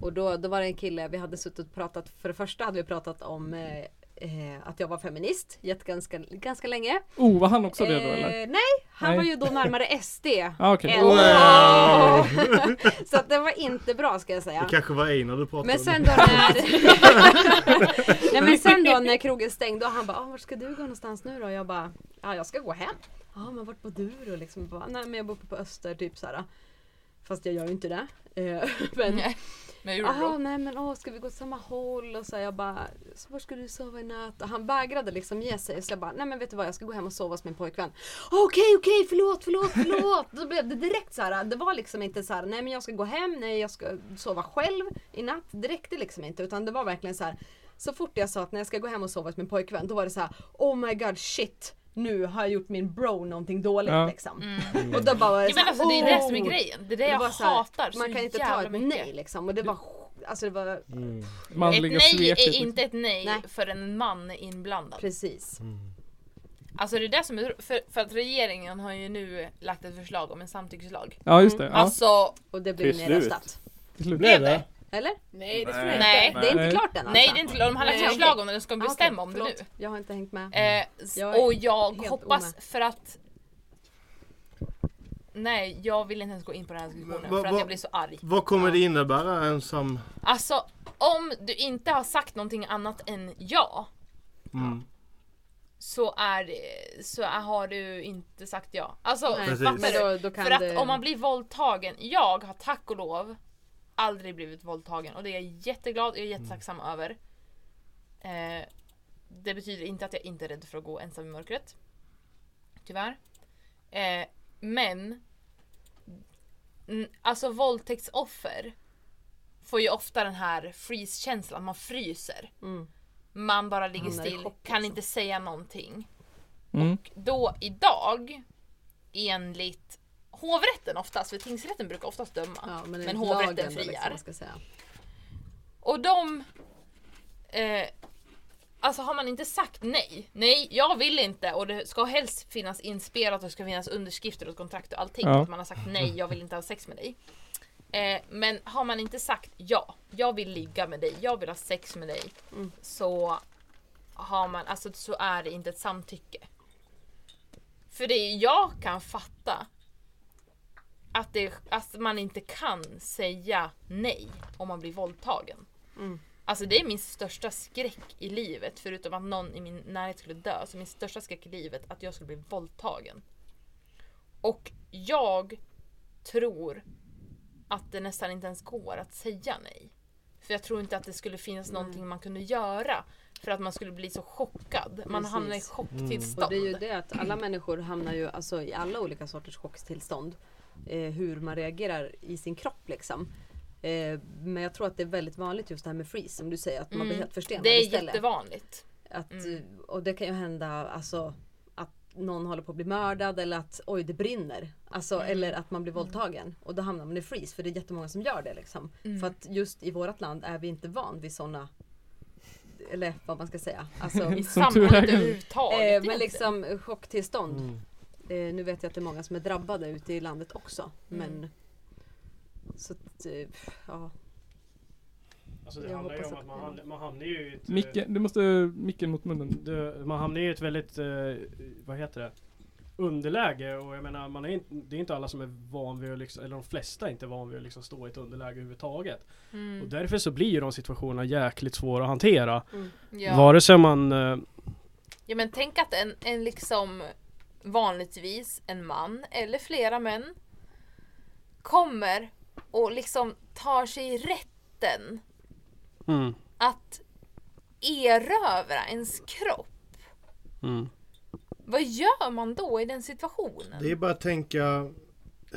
[SPEAKER 4] och då, då var det en kille, vi hade suttit och pratat, för det första hade vi pratat om eh, eh, att jag var feminist jätte- ganska, ganska länge.
[SPEAKER 1] Oh, var han också det då eller?
[SPEAKER 4] Eh, nej, han
[SPEAKER 1] Nej.
[SPEAKER 4] var ju då närmare SD.
[SPEAKER 1] Ah, okej.
[SPEAKER 4] än- Så att det var inte bra ska jag säga.
[SPEAKER 3] Det kanske var Einar du pratade
[SPEAKER 4] Men sen
[SPEAKER 3] om.
[SPEAKER 4] då när... Nej men sen då när krogen stängde och han bara, ah, vart ska du gå någonstans nu då? Och jag bara, ja jag ska gå hem. Ja men vart bor du då liksom? Jag Bara, Nej men jag bor uppe på Öster typ såhär. Fast jag gör ju inte det. Eh, men
[SPEAKER 9] Nej, Men jag gjorde det
[SPEAKER 4] Jaha,
[SPEAKER 9] då.
[SPEAKER 4] nej men åh, ska vi gå åt samma håll? Och så jag bara, så var ska du sova i natt? Och han vägrade liksom ge sig. Så jag bara, nej men vet du vad, jag ska gå hem och sova hos min pojkvän. Okej, okej, förlåt, förlåt, förlåt. Då blev det direkt så här, det var liksom inte så här, nej men jag ska gå hem, nej jag ska sova själv i natt. Det räckte liksom inte, utan det var verkligen så här, så fort jag sa att när jag ska gå hem och sova hos min pojkvän, då var det så här, oh my god shit. Nu har jag gjort min bro någonting dåligt
[SPEAKER 1] Ja.
[SPEAKER 4] liksom. Och då bara var det
[SPEAKER 9] Mm. Ja, men
[SPEAKER 4] så här,
[SPEAKER 9] alltså, det är det som är
[SPEAKER 4] "Oh."
[SPEAKER 9] grejen. Det är det
[SPEAKER 4] Det
[SPEAKER 9] jag
[SPEAKER 4] var så här,
[SPEAKER 9] hatar så
[SPEAKER 4] Man kan inte ta
[SPEAKER 9] jävla
[SPEAKER 4] ett
[SPEAKER 9] mycket.
[SPEAKER 4] nej liksom. Och det var, sj- alltså det var
[SPEAKER 9] Ett
[SPEAKER 1] Manliga
[SPEAKER 9] nej
[SPEAKER 1] sveket. liksom.
[SPEAKER 9] är inte ett nej,
[SPEAKER 4] Nej.
[SPEAKER 9] för en man är inblandad.
[SPEAKER 4] precis.
[SPEAKER 9] Alltså det är det som är för, för att regeringen har ju nu lagt ett förslag om en samtyckeslag.
[SPEAKER 1] Ja just det, ja.
[SPEAKER 9] Alltså,
[SPEAKER 4] Och det blev
[SPEAKER 2] Till
[SPEAKER 4] nedröstat.
[SPEAKER 1] Till slut.
[SPEAKER 9] blev det?
[SPEAKER 4] Eller?
[SPEAKER 8] Nej, det tror jag inte.
[SPEAKER 9] Nej.
[SPEAKER 4] Det är
[SPEAKER 1] Nej.
[SPEAKER 4] inte klart än alltså.
[SPEAKER 9] Nej det är inte De har lagt
[SPEAKER 4] Nej.
[SPEAKER 9] ett förslag om det, de ska
[SPEAKER 4] Ah, okej,
[SPEAKER 9] bestämma om det nu.
[SPEAKER 4] förlåt. Jag har inte hängt med.
[SPEAKER 9] Eh, s-
[SPEAKER 4] Jag är
[SPEAKER 9] och jag
[SPEAKER 4] helt
[SPEAKER 9] hoppas
[SPEAKER 4] omed.
[SPEAKER 9] för att Nej, jag vill inte ens gå in på den här
[SPEAKER 3] Vad-
[SPEAKER 9] diskussionen för att
[SPEAKER 3] vad-
[SPEAKER 9] jag blir så arg.
[SPEAKER 3] Vad kommer det innebära ensam?
[SPEAKER 9] Alltså, om du inte har sagt någonting annat än ja,
[SPEAKER 3] Mm.
[SPEAKER 9] så, är, det- så är, har du inte sagt ja. Alltså,
[SPEAKER 4] Nej,
[SPEAKER 3] precis.
[SPEAKER 9] fattar
[SPEAKER 4] Men
[SPEAKER 9] du?
[SPEAKER 4] då, då kan
[SPEAKER 9] För att
[SPEAKER 4] det...
[SPEAKER 9] om man blir våldtagen, jag har tack och lov aldrig blivit våldtagen och det är jag jätteglad och jag är
[SPEAKER 4] Mm.
[SPEAKER 9] jättetacksam över. Eh, det betyder inte att jag inte är rädd för att gå ensam i mörkret. Tyvärr. Eh, men, mm, alltså våldtäktsoffer får ju ofta den här freeze-känslan, man fryser.
[SPEAKER 4] Mm.
[SPEAKER 9] Man bara ligger
[SPEAKER 4] Hamnar i
[SPEAKER 9] still,
[SPEAKER 4] chock
[SPEAKER 9] kan
[SPEAKER 4] liksom.
[SPEAKER 9] inte säga någonting
[SPEAKER 1] Mm.
[SPEAKER 9] då idag enligt hovrätten oftast, för tingsrätten brukar oftast döma.
[SPEAKER 4] Ja, men
[SPEAKER 9] Men
[SPEAKER 4] enligt
[SPEAKER 9] hovrätten
[SPEAKER 4] lagen då, liksom,
[SPEAKER 9] friar.
[SPEAKER 4] vad ska jag säga.
[SPEAKER 9] Och de... Eh, alltså har man inte sagt nej, nej jag vill inte och det ska helst finnas inspelat och det ska finnas underskrifter och kontrakt och allting.
[SPEAKER 1] Ja.
[SPEAKER 9] Att man har sagt nej, jag vill inte ha sex med dig. Eh, men har man inte sagt ja, jag vill ligga med dig, jag vill ha sex med dig.
[SPEAKER 4] Mm.
[SPEAKER 9] Så har man, alltså så är det inte ett samtycke. För det jag kan fatta att, det, att man inte kan säga nej om man blir våldtagen.
[SPEAKER 4] Mm.
[SPEAKER 9] Alltså det är min största skräck i livet, förutom att någon i min närhet skulle dö, så min största skräck i livet att jag skulle bli våldtagen. Och jag tror att det nästan inte ens går att säga nej. För jag tror inte att det skulle finnas någonting man kunde göra för att man skulle bli så chockad. Man
[SPEAKER 4] Precis. Mm.
[SPEAKER 9] hamnar i chocktillstånd.
[SPEAKER 4] Och det är ju det att alla människor hamnar ju alltså, i alla olika sorters chocktillstånd. Eh, hur man reagerar i sin kropp liksom. Eh, men jag tror att det är väldigt vanligt just det här med freeze som du säger att man
[SPEAKER 9] Mm.
[SPEAKER 4] blir helt förstenad
[SPEAKER 9] Det är
[SPEAKER 4] istället.
[SPEAKER 9] jättevanligt.
[SPEAKER 4] Att,
[SPEAKER 9] Mm.
[SPEAKER 4] eh, Och det kan ju hända alltså att någon håller på att bli mördad eller att oj det brinner. Alltså,
[SPEAKER 9] Mm.
[SPEAKER 4] Eller att man blir våldtagen och då hamnar man i freeze för det är jättemånga som gör det. Liksom.
[SPEAKER 9] Mm.
[SPEAKER 4] För att just i vårt land är vi inte van vid sådana eller vad man ska säga. Alltså,
[SPEAKER 9] I
[SPEAKER 1] Som tur är.
[SPEAKER 9] samhället överhuvudtaget.
[SPEAKER 4] eh, men
[SPEAKER 9] egentligen.
[SPEAKER 4] liksom eh, chocktillstånd. Eh, nu vet jag att det är många som är drabbade ute i landet också.
[SPEAKER 9] Mm.
[SPEAKER 4] Men så att, eh, ja.
[SPEAKER 6] Alltså
[SPEAKER 4] Jag
[SPEAKER 6] det handlar ju
[SPEAKER 4] hoppas
[SPEAKER 6] om
[SPEAKER 4] att-
[SPEAKER 6] att man hamnar, man hamnar ju i ett... eh,
[SPEAKER 1] Micke, du måste micken mot munnen.
[SPEAKER 6] du, man hamnar ju i ett väldigt, eh, vad heter det? Underläge och jag menar, man är inte, det är inte alla som är van vid att liksom, eller de flesta är inte van vid att liksom stå i ett underläge överhuvudtaget.
[SPEAKER 9] Mm.
[SPEAKER 6] Och därför så blir ju de situationerna jäkligt svåra att hantera.
[SPEAKER 9] ja.
[SPEAKER 6] Vare sig man... Eh,
[SPEAKER 9] Ja men tänk att en, en liksom vanligtvis en man eller flera män kommer och liksom tar sig rätten
[SPEAKER 6] Mm.
[SPEAKER 9] att erövra ens kropp.
[SPEAKER 6] Mm.
[SPEAKER 9] Vad gör man då i den situationen?
[SPEAKER 3] Det är bara att tänka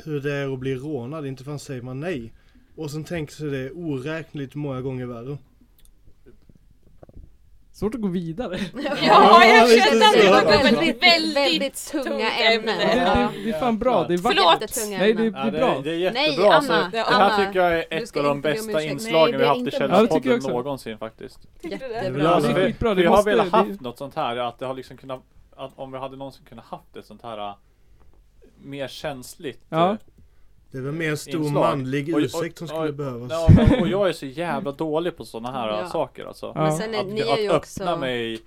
[SPEAKER 3] hur det är att bli rånad, inte fan säger man nej. Och sen tänker sig det oräkneligt många gånger värre.
[SPEAKER 1] Svårt att gå vidare.
[SPEAKER 9] Ja, jag
[SPEAKER 3] lite
[SPEAKER 9] kände att det
[SPEAKER 3] så.
[SPEAKER 9] var väldigt,
[SPEAKER 4] Väldigt,
[SPEAKER 9] väldigt,
[SPEAKER 4] väldigt
[SPEAKER 9] tungt
[SPEAKER 4] tunga ämnen.
[SPEAKER 1] Det,
[SPEAKER 4] Ja.
[SPEAKER 1] det, det är fan bra, det är vackert.
[SPEAKER 9] Förlåt.
[SPEAKER 4] Jättetunga
[SPEAKER 1] Nej det,
[SPEAKER 4] ämnen.
[SPEAKER 1] det
[SPEAKER 2] Ja,
[SPEAKER 1] är
[SPEAKER 2] det,
[SPEAKER 1] bra.
[SPEAKER 2] är- det är
[SPEAKER 4] Nej,
[SPEAKER 2] jättebra. så
[SPEAKER 4] Anna,
[SPEAKER 2] det
[SPEAKER 4] Anna.
[SPEAKER 2] här tycker jag är
[SPEAKER 4] Du
[SPEAKER 2] ett
[SPEAKER 4] ska
[SPEAKER 2] av de
[SPEAKER 4] inte be om
[SPEAKER 2] bästa
[SPEAKER 4] ursäkt.
[SPEAKER 2] inslagen
[SPEAKER 4] Nej,
[SPEAKER 2] vi
[SPEAKER 4] det är
[SPEAKER 2] haft i
[SPEAKER 4] inte
[SPEAKER 1] bra. Ja, det tycker jag
[SPEAKER 2] Källarpodden
[SPEAKER 1] också.
[SPEAKER 2] någonsin faktiskt.
[SPEAKER 1] Ja,
[SPEAKER 4] Jättebra.
[SPEAKER 1] det är
[SPEAKER 2] vi,
[SPEAKER 1] skitbra, det
[SPEAKER 2] vi har
[SPEAKER 1] måste-
[SPEAKER 2] velat
[SPEAKER 1] det-
[SPEAKER 2] haft något sånt här, att det har liksom kunnat, att om vi hade någonsin kunnat haft ett sånt här äh, mer känsligt
[SPEAKER 1] Ja.
[SPEAKER 2] äh,
[SPEAKER 3] Det är väl mer en stor
[SPEAKER 2] Inslag.
[SPEAKER 3] manlig
[SPEAKER 2] Oj, oj,
[SPEAKER 3] ursäkt som skulle
[SPEAKER 2] oj.
[SPEAKER 3] behövas.
[SPEAKER 2] Ja, men, och jag är så jävla dålig på sådana här
[SPEAKER 4] Ja.
[SPEAKER 2] saker alltså.
[SPEAKER 1] Ja.
[SPEAKER 4] Men sen är,
[SPEAKER 2] Att,
[SPEAKER 4] ni
[SPEAKER 2] att
[SPEAKER 4] är ju
[SPEAKER 2] öppna
[SPEAKER 4] också
[SPEAKER 2] mig,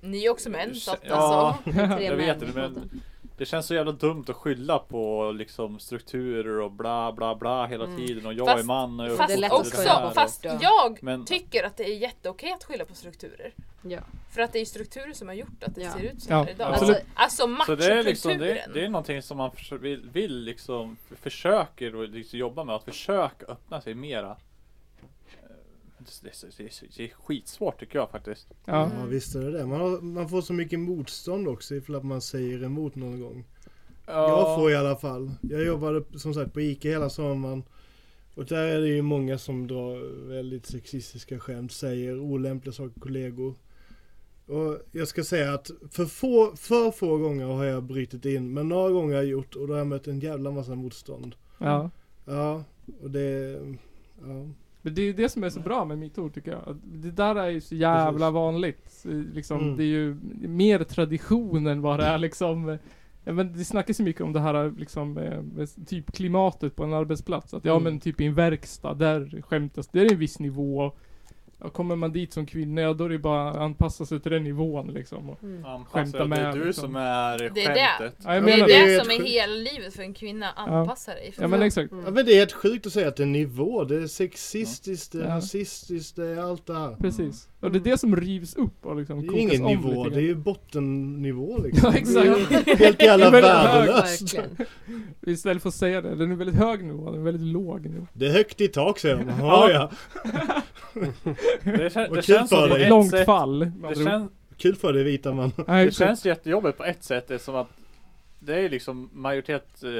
[SPEAKER 9] Ni är också män så att
[SPEAKER 2] Ja.
[SPEAKER 9] alltså.
[SPEAKER 4] tre
[SPEAKER 2] jag
[SPEAKER 4] män
[SPEAKER 2] vet det
[SPEAKER 4] i båten.
[SPEAKER 2] men det känns så jävla dumt att skylla på liksom strukturer och bla bla bla hela
[SPEAKER 4] Mm.
[SPEAKER 2] tiden och jag
[SPEAKER 9] Fast-
[SPEAKER 2] är man och jag
[SPEAKER 9] Fast
[SPEAKER 4] Det är lätt att skylla
[SPEAKER 9] också,
[SPEAKER 4] på
[SPEAKER 9] fast
[SPEAKER 4] strukturer.
[SPEAKER 9] jag
[SPEAKER 2] Men-
[SPEAKER 9] tycker att det är jätteokej att skylla på strukturer.
[SPEAKER 4] Ja.
[SPEAKER 9] För att det är strukturer som har gjort att det
[SPEAKER 4] Ja.
[SPEAKER 9] ser ut så
[SPEAKER 1] Ja,
[SPEAKER 9] här idag.
[SPEAKER 2] absolut.
[SPEAKER 9] Alltså, alltså
[SPEAKER 2] Så det är liksom,
[SPEAKER 9] machokulturen.
[SPEAKER 2] det, det är någonting som man förs- vill, vill liksom, försöker och liksom jobba med, att försöka öppna sig mera. Eh, Det är, så- det är, så- det är skitsvårt tycker jag faktiskt.
[SPEAKER 1] Ja.
[SPEAKER 3] Ja visst är det det. Man, har, man får så mycket motstånd också ifall att man säger emot någon gång. Jag får i alla fall. Jag jobbade som sagt på Ica hela sommaren. Och där är det ju många som drar väldigt sexistiska skämt, säger olämpliga saker till kollegor. Och jag ska säga att för få, för få gånger har jag brutit in, men några gånger har jag gjort och då har jag mött en jävla massa motstånd.
[SPEAKER 1] Ja.
[SPEAKER 3] Ja, och det... Ja.
[SPEAKER 1] Men det är ju det som är så bra med metoo tycker jag. Att Det där är ju så jävla
[SPEAKER 3] Precis.
[SPEAKER 1] vanligt. Så, Liksom,
[SPEAKER 3] Mm.
[SPEAKER 1] Det är ju mer tradition än vad det är liksom. eh, Ja, men det snackas ju mycket om det här liksom, eh, med typ klimatet på en arbetsplats. Att ja
[SPEAKER 3] Mm.
[SPEAKER 1] men typ i en verkstad, där skämtas det, är en viss nivå. Ja, kommer man dit som kvinna, ja då är det bara att anpassa sig till den nivån liksom. Och,
[SPEAKER 4] Mm.
[SPEAKER 1] Skämta
[SPEAKER 2] Skämta med. alltså, Det är
[SPEAKER 1] med,
[SPEAKER 2] du
[SPEAKER 1] liksom.
[SPEAKER 2] som är
[SPEAKER 9] Det är det.
[SPEAKER 2] skämtet.
[SPEAKER 1] ja, jag
[SPEAKER 3] Men
[SPEAKER 1] menar
[SPEAKER 9] det
[SPEAKER 1] det.
[SPEAKER 9] är
[SPEAKER 3] det är
[SPEAKER 9] det som
[SPEAKER 3] ett
[SPEAKER 9] är
[SPEAKER 3] sjuk-
[SPEAKER 9] hela livet för en kvinna, anpassa dig. För
[SPEAKER 1] Ja men liksom exakt.
[SPEAKER 3] ja, men det är helt sjukt att säga att det är nivå. Det är sexistiskt, det är
[SPEAKER 1] Ja.
[SPEAKER 3] rasistiskt, det är allt det här.
[SPEAKER 1] Precis. Och det är det som rivs upp och liksom
[SPEAKER 3] Mm. Det är
[SPEAKER 1] kokas
[SPEAKER 3] ju ingen
[SPEAKER 1] om
[SPEAKER 3] nivå,
[SPEAKER 1] lite grann.
[SPEAKER 3] det är ju bottennivå liksom.
[SPEAKER 1] Ja, exakt.
[SPEAKER 3] Det är Helt jävla
[SPEAKER 1] Det är väldigt
[SPEAKER 3] värdelöst.
[SPEAKER 4] Verkligen.
[SPEAKER 1] Istället för att säga det, den är väldigt hög nivå, den är väldigt låg nivå.
[SPEAKER 3] Det är högt i tak säger de. Ja, ja.
[SPEAKER 2] Det, kän-
[SPEAKER 3] Och
[SPEAKER 2] det
[SPEAKER 3] kul
[SPEAKER 2] känns
[SPEAKER 3] för
[SPEAKER 2] som på
[SPEAKER 3] dig.
[SPEAKER 2] ett
[SPEAKER 1] Långt
[SPEAKER 2] sätt-
[SPEAKER 1] fall. med
[SPEAKER 2] Det,
[SPEAKER 1] andra ord.
[SPEAKER 2] kän,
[SPEAKER 3] Kul för dig vita man.
[SPEAKER 1] Nej,
[SPEAKER 2] det
[SPEAKER 1] exakt.
[SPEAKER 2] känns jättejobbigt på ett sätt. Det är som att det är liksom majoritet, eh,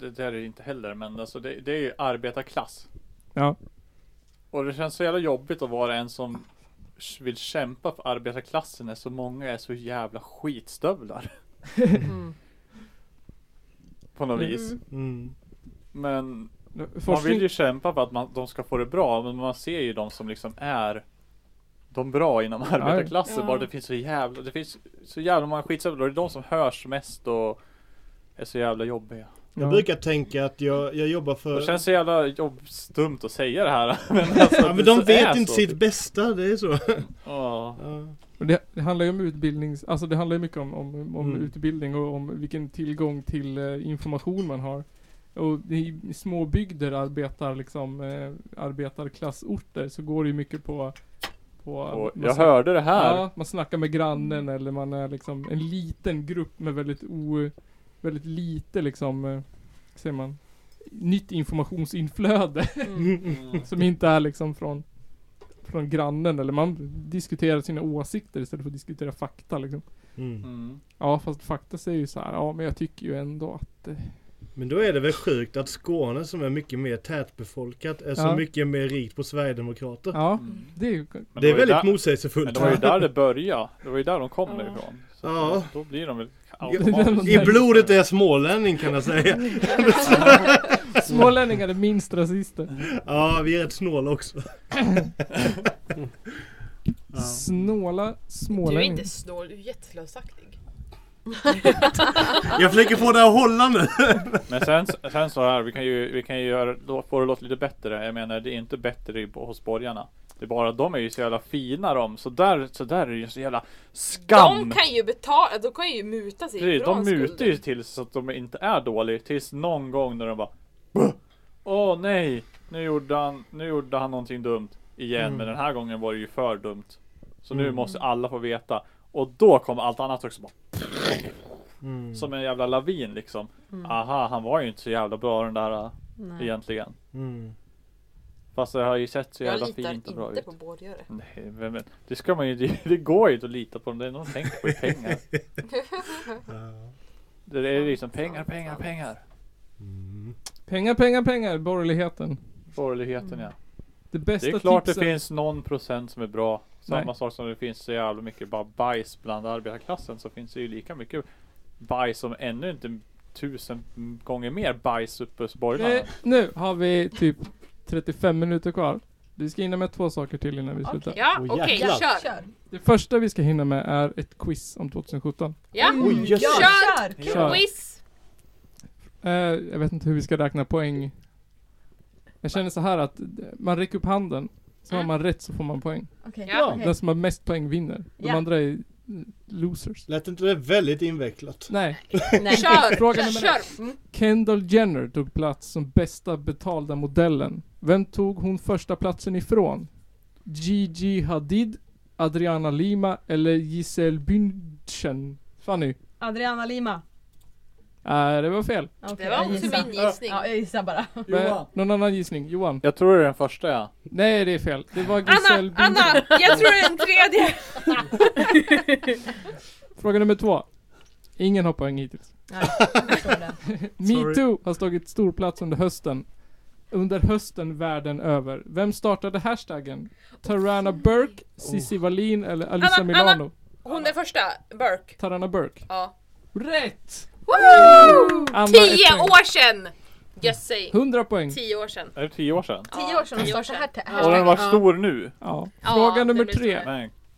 [SPEAKER 2] det det är det inte heller, men alltså det, det är ju arbetarklass.
[SPEAKER 1] Ja.
[SPEAKER 2] Och det känns så jävla jobbigt att vara en som vill kämpa för arbetarklassen när så många är så jävla skitstövlar.
[SPEAKER 4] Mm.
[SPEAKER 2] På något
[SPEAKER 1] Mm.
[SPEAKER 2] vis.
[SPEAKER 3] Mm.
[SPEAKER 2] Men man
[SPEAKER 1] Forskning,
[SPEAKER 2] vill ju kämpa för att man, de ska få det bra, men man ser ju de som liksom är de bra inom arbetarklassen.
[SPEAKER 8] Ja.
[SPEAKER 2] Bara det finns så jävla, det finns så jävla många skitstövlar och det är de som hörs mest och är så jävla jobbiga.
[SPEAKER 3] Jag
[SPEAKER 1] ja.
[SPEAKER 3] brukar tänka att jag, jag jobbar för...
[SPEAKER 2] Det känns så jävla jobb, stumt att säga det här. Men, alltså,
[SPEAKER 3] Ja,
[SPEAKER 2] det
[SPEAKER 3] men
[SPEAKER 2] så
[SPEAKER 3] de
[SPEAKER 2] är
[SPEAKER 3] vet inte
[SPEAKER 2] så. typ. Mm.
[SPEAKER 3] sitt bästa, det är så.
[SPEAKER 2] Ja.
[SPEAKER 3] Ja.
[SPEAKER 1] Men det, det handlar ju om utbildnings, alltså det handlar ju mycket om, om, om
[SPEAKER 3] Mm.
[SPEAKER 1] utbildning och om vilken tillgång till eh, information man har. Och i i små bygder arbetar liksom, eh, arbetarklassorter så går det ju mycket på, på
[SPEAKER 2] Och
[SPEAKER 1] man
[SPEAKER 2] jag
[SPEAKER 1] snack-
[SPEAKER 2] hörde det här.
[SPEAKER 1] Ja, man snackar med grannen eller man är liksom en liten grupp med väldigt o, väldigt lite liksom, eh, vad säger man, nytt informationsinflöde.
[SPEAKER 2] Mm.
[SPEAKER 1] Som inte är liksom från Från grannen eller man diskuterar sina åsikter istället för att diskutera fakta liksom.
[SPEAKER 3] Mm.
[SPEAKER 2] Mm.
[SPEAKER 1] Ja fast fakta säger ju så här, ja men jag tycker ju ändå att eh,
[SPEAKER 3] Men då är det väl sjukt att Skåne som är mycket mer tätbefolkat är så
[SPEAKER 1] Ja.
[SPEAKER 3] mycket mer rikt på Sverigedemokrater.
[SPEAKER 1] Ja,
[SPEAKER 2] Mm.
[SPEAKER 1] det är ju
[SPEAKER 2] Men
[SPEAKER 3] Det är
[SPEAKER 2] var ju
[SPEAKER 3] väldigt
[SPEAKER 2] där- Men
[SPEAKER 3] motsägelsefullt.
[SPEAKER 2] det var ju där det började. Det var ju där de kom
[SPEAKER 8] Ja.
[SPEAKER 2] ifrån. Så
[SPEAKER 3] Ja.
[SPEAKER 2] Då blir de väl
[SPEAKER 1] Ja.
[SPEAKER 2] automatiskt.
[SPEAKER 3] I blodet är jag smålänning kan jag säga.
[SPEAKER 1] Smålänningar är minst rasister
[SPEAKER 3] Ja, vi är rätt snåla också.
[SPEAKER 1] Snåla
[SPEAKER 9] Du är
[SPEAKER 1] smålänningar
[SPEAKER 9] inte snål, du är jätteslösaktig.
[SPEAKER 3] Jag försöker få det att hålla nu.
[SPEAKER 2] Men sen, sen så här, vi kan ju, vi kan ju göra, då får det låta lite bättre. Jag menar, det är inte bättre i, hos borgarna. Det är bara, de är ju så jävla fina de. Så där, så där är det ju så jävla skam.
[SPEAKER 9] De kan ju betala, de kan ju muta sig
[SPEAKER 2] Precis, de
[SPEAKER 9] ifrån
[SPEAKER 2] mutar ju
[SPEAKER 9] skulden.
[SPEAKER 2] tills så att de inte är dåliga. Tills någon gång när de bara "Buh! Åh nej! Nu gjorde, han, nu gjorde han någonting dumt igen.
[SPEAKER 3] Mm.
[SPEAKER 2] Men den här gången var det ju för dumt. Så nu
[SPEAKER 3] Mm.
[SPEAKER 2] måste alla få veta. Och då kommer allt annat också bara,
[SPEAKER 3] Mm.
[SPEAKER 4] Mm.
[SPEAKER 2] som en jävla lavin liksom. Aha, han var ju inte så jävla bra den där. äh,
[SPEAKER 4] Nej.
[SPEAKER 2] egentligen.
[SPEAKER 3] Mm.
[SPEAKER 2] Fast det har ju sett så
[SPEAKER 4] Jag
[SPEAKER 2] jävla
[SPEAKER 4] litar
[SPEAKER 2] fint och bra
[SPEAKER 4] inte
[SPEAKER 2] ut.
[SPEAKER 4] på bådgörare.
[SPEAKER 2] Nej, men, men, det ska man ju, det, det går ju inte att lita på dem. Det är någon tänkt på i pengar.
[SPEAKER 3] Ja.
[SPEAKER 2] Det är liksom
[SPEAKER 4] Sant,
[SPEAKER 2] pengar,
[SPEAKER 4] sant,
[SPEAKER 2] pengar,
[SPEAKER 4] sant.
[SPEAKER 2] pengar.
[SPEAKER 3] Mm.
[SPEAKER 1] Pengar, pengar, pengar, borgerligheten.
[SPEAKER 2] Borgerligheten ja.
[SPEAKER 1] Det bästa
[SPEAKER 2] Det är klart
[SPEAKER 1] tipset.
[SPEAKER 2] det finns någon procent som är bra. Samma
[SPEAKER 1] Nej.
[SPEAKER 2] sak som det finns så jävla mycket bara bajs bland arbetarklassen så finns det ju lika mycket bajs som ännu inte tusen gånger mer bajs uppe hos borgarna.
[SPEAKER 1] Eh, nu har vi typ 35 minuter kvar. Vi ska hinna med två saker till innan vi slutar.
[SPEAKER 9] Ja,
[SPEAKER 6] Åh,
[SPEAKER 9] okej,
[SPEAKER 6] jäklar.
[SPEAKER 9] kör!
[SPEAKER 4] Kör!
[SPEAKER 1] Det första vi ska hinna med är ett quiz om 2017.
[SPEAKER 9] Ja,
[SPEAKER 6] Oj, jösses.
[SPEAKER 9] kör!
[SPEAKER 1] Kör.
[SPEAKER 9] Quiz!
[SPEAKER 1] Eh, jag vet inte hur vi ska räkna poäng. Jag känner så här att eh, man räcker upp handen. Så har
[SPEAKER 9] Mm.
[SPEAKER 1] man rätt så får man poäng.
[SPEAKER 4] Okej.
[SPEAKER 9] Ja.
[SPEAKER 1] Den som har mest poäng vinner. De
[SPEAKER 4] Ja.
[SPEAKER 1] andra är eh, losers.
[SPEAKER 3] Lät inte det väldigt invecklat?
[SPEAKER 1] Nej.
[SPEAKER 4] Nej.
[SPEAKER 9] Kör!
[SPEAKER 1] Fråga
[SPEAKER 9] Kör!
[SPEAKER 1] nummer
[SPEAKER 9] kör. Mm.
[SPEAKER 1] Kendall Jenner tog plats som bästa betalda modellen. Vem tog hon första platsen ifrån? Gigi Hadid, Adriana Lima eller Giselle Bündchen? Fanny?
[SPEAKER 4] Adriana Lima.
[SPEAKER 1] Nej, det var fel.
[SPEAKER 4] Okej,
[SPEAKER 9] Det var
[SPEAKER 4] jag
[SPEAKER 9] också
[SPEAKER 4] gissar.
[SPEAKER 9] min gissning.
[SPEAKER 4] Ja, jag gissar bara.
[SPEAKER 1] Men, någon annan gissning? Johan?
[SPEAKER 2] Jag tror det är den första ja.
[SPEAKER 1] Nej, det är fel. Det var Giselle
[SPEAKER 9] Anna,
[SPEAKER 1] Bündchen.
[SPEAKER 9] Anna! Jag tror det är en tredje!
[SPEAKER 1] Fråga nummer två. Ingen har poäng hittills.
[SPEAKER 4] Nej, jag förstår det.
[SPEAKER 7] Sorry.
[SPEAKER 1] Metoo har tagit stor plats under hösten. Under hösten världen över. Vem startade hashtaggen? Tarana Burke, Cissi Wallin eller Alyssa
[SPEAKER 9] Anna,
[SPEAKER 1] Milano?
[SPEAKER 9] Anna. Hon är första, Burke.
[SPEAKER 1] Tarana Burke.
[SPEAKER 9] Ja.
[SPEAKER 1] Rätt!
[SPEAKER 9] Woo!
[SPEAKER 1] Anna, ett
[SPEAKER 9] Tio
[SPEAKER 1] poäng.
[SPEAKER 9] år sedan! Yes, säg.
[SPEAKER 1] 100 poäng.
[SPEAKER 9] Tio år sedan.
[SPEAKER 2] Är det tio år sedan?
[SPEAKER 4] Tio år sedan hon startade här till
[SPEAKER 2] Och den var
[SPEAKER 4] hashtaggen.
[SPEAKER 2] stor nu.
[SPEAKER 1] Ja.
[SPEAKER 9] Ja,
[SPEAKER 1] Fråga
[SPEAKER 9] det
[SPEAKER 1] nummer
[SPEAKER 9] blir så.
[SPEAKER 1] tre.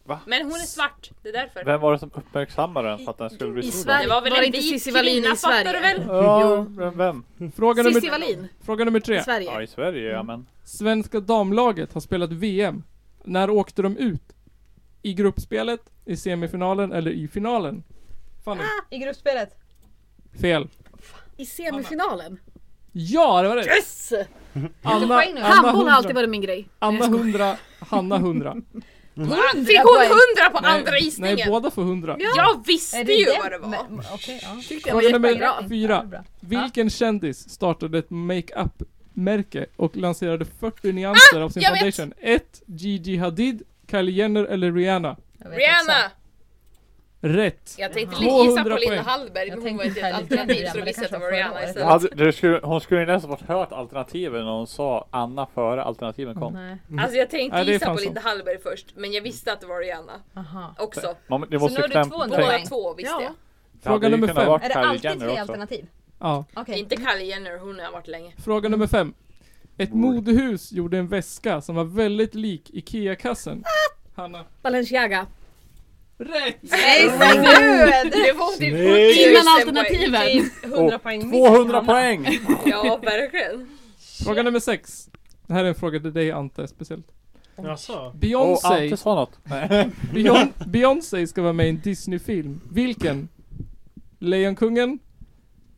[SPEAKER 2] Men
[SPEAKER 9] Men hon är svart, det är därför.
[SPEAKER 2] vem var det som uppmärksammade den för att den skulle bli
[SPEAKER 4] I
[SPEAKER 2] stor?
[SPEAKER 4] Sverige.
[SPEAKER 9] Det var väl
[SPEAKER 8] Var det
[SPEAKER 9] en
[SPEAKER 8] inte
[SPEAKER 9] vit
[SPEAKER 8] Cissi Wallin
[SPEAKER 9] kvinna
[SPEAKER 8] i
[SPEAKER 9] fattar
[SPEAKER 8] Sverige?
[SPEAKER 9] du väl?
[SPEAKER 2] Ja, vem? vem?
[SPEAKER 1] Fråga
[SPEAKER 8] Cissi
[SPEAKER 1] nummer,
[SPEAKER 8] Wallin
[SPEAKER 1] fråga nummer
[SPEAKER 8] i
[SPEAKER 1] tre.
[SPEAKER 8] Sverige.
[SPEAKER 2] Ja, i Sverige ja
[SPEAKER 4] Mm.
[SPEAKER 2] men.
[SPEAKER 1] Svenska damlaget har spelat VM. När åkte de ut? I gruppspelet, i semifinalen eller i finalen? Fanny.
[SPEAKER 4] Ah, I gruppspelet.
[SPEAKER 1] Fel.
[SPEAKER 8] I semifinalen.
[SPEAKER 1] Ja, det var det!
[SPEAKER 8] Yes!
[SPEAKER 1] Anna,
[SPEAKER 4] poäng nu.
[SPEAKER 8] Handboll har
[SPEAKER 1] 100,
[SPEAKER 8] alltid varit min grej.
[SPEAKER 1] Anna 100, Hanna 100.
[SPEAKER 9] Hon, fick hon hundra på andra gissningen?
[SPEAKER 1] nej, båda får 100.
[SPEAKER 9] Jag visste
[SPEAKER 4] Är
[SPEAKER 9] ju
[SPEAKER 4] den?
[SPEAKER 9] vad det var!
[SPEAKER 4] Men- Okej, ja.
[SPEAKER 8] Tyckte jag var
[SPEAKER 1] Fråga
[SPEAKER 8] jättebra.
[SPEAKER 1] nummer
[SPEAKER 4] Ja, det är
[SPEAKER 1] fyra.
[SPEAKER 4] bra.
[SPEAKER 1] Vilken kändis startade ett makeup-märke och lanserade
[SPEAKER 4] Ah,
[SPEAKER 1] 40 nyanser av sin
[SPEAKER 9] jag vet.
[SPEAKER 1] foundation? 1. Gigi Hadid, Kylie Jenner eller Rihanna?
[SPEAKER 4] Jag vet också.
[SPEAKER 9] Rihanna!
[SPEAKER 1] Rätt!
[SPEAKER 9] Jag tänkte li-
[SPEAKER 1] 200
[SPEAKER 9] gissa på Linda
[SPEAKER 1] poäng.
[SPEAKER 9] Hallberg,
[SPEAKER 4] Jag
[SPEAKER 9] men hon
[SPEAKER 4] tänkte
[SPEAKER 9] var inte ett
[SPEAKER 4] själv
[SPEAKER 9] alternativ
[SPEAKER 4] Rihanna,
[SPEAKER 9] så då
[SPEAKER 4] men det
[SPEAKER 9] gissade jag
[SPEAKER 4] kanske
[SPEAKER 9] på
[SPEAKER 4] var förra
[SPEAKER 9] Rihanna
[SPEAKER 4] året.
[SPEAKER 2] Jag
[SPEAKER 9] istället.
[SPEAKER 1] Alltså-
[SPEAKER 2] Hade, det skulle, hon skulle ju nästan fått hört alternativen när hon sa Anna före alternativen kom.
[SPEAKER 4] Nej,
[SPEAKER 9] Alltså jag
[SPEAKER 1] Ja,
[SPEAKER 9] tänkte
[SPEAKER 1] det är
[SPEAKER 9] gissa
[SPEAKER 1] fan
[SPEAKER 9] på
[SPEAKER 1] så.
[SPEAKER 9] Linda Hallberg först, men jag visste att det var Rihanna
[SPEAKER 4] aha.
[SPEAKER 9] också.
[SPEAKER 2] Man, det
[SPEAKER 4] Så
[SPEAKER 2] måste
[SPEAKER 4] nu
[SPEAKER 2] ju
[SPEAKER 4] har du
[SPEAKER 2] kläm-
[SPEAKER 4] två
[SPEAKER 2] tänk-
[SPEAKER 9] Båda
[SPEAKER 4] poäng.
[SPEAKER 9] två visste
[SPEAKER 8] Ja.
[SPEAKER 9] jag.
[SPEAKER 2] Det hade
[SPEAKER 1] Fråga
[SPEAKER 2] ju
[SPEAKER 1] nummer
[SPEAKER 2] kunnat
[SPEAKER 1] fem.
[SPEAKER 2] varit
[SPEAKER 4] Är det
[SPEAKER 2] Kylie
[SPEAKER 4] alltid
[SPEAKER 2] Jenner
[SPEAKER 4] tre
[SPEAKER 2] också.
[SPEAKER 4] alternativ?
[SPEAKER 1] Ja.
[SPEAKER 4] Okej.
[SPEAKER 9] Inte Kylie Jenner, hon har varit länge.
[SPEAKER 1] Fråga nummer fem. Ett modehus gjorde en väska som var väldigt lik IKEA-kassen. Hanna.
[SPEAKER 8] Balenciaga.
[SPEAKER 1] Rätt!
[SPEAKER 4] Nej, säg gud!
[SPEAKER 9] Det var typ
[SPEAKER 3] Snyggt!
[SPEAKER 9] 70 000
[SPEAKER 8] Innan
[SPEAKER 9] poäng. Typ
[SPEAKER 8] alternativen.
[SPEAKER 2] Och
[SPEAKER 4] 100 poäng
[SPEAKER 2] 200 poäng!
[SPEAKER 9] Ja, verkligen.
[SPEAKER 1] Fråga nummer sex. Det här är en fråga till dig Ante speciellt.
[SPEAKER 6] Jaså?
[SPEAKER 2] Och
[SPEAKER 1] Beyoncé,
[SPEAKER 2] Ante sa något. Nej.
[SPEAKER 1] Beyon- Beyoncé ska vara med i en Disney-film. Vilken? Lejonkungen?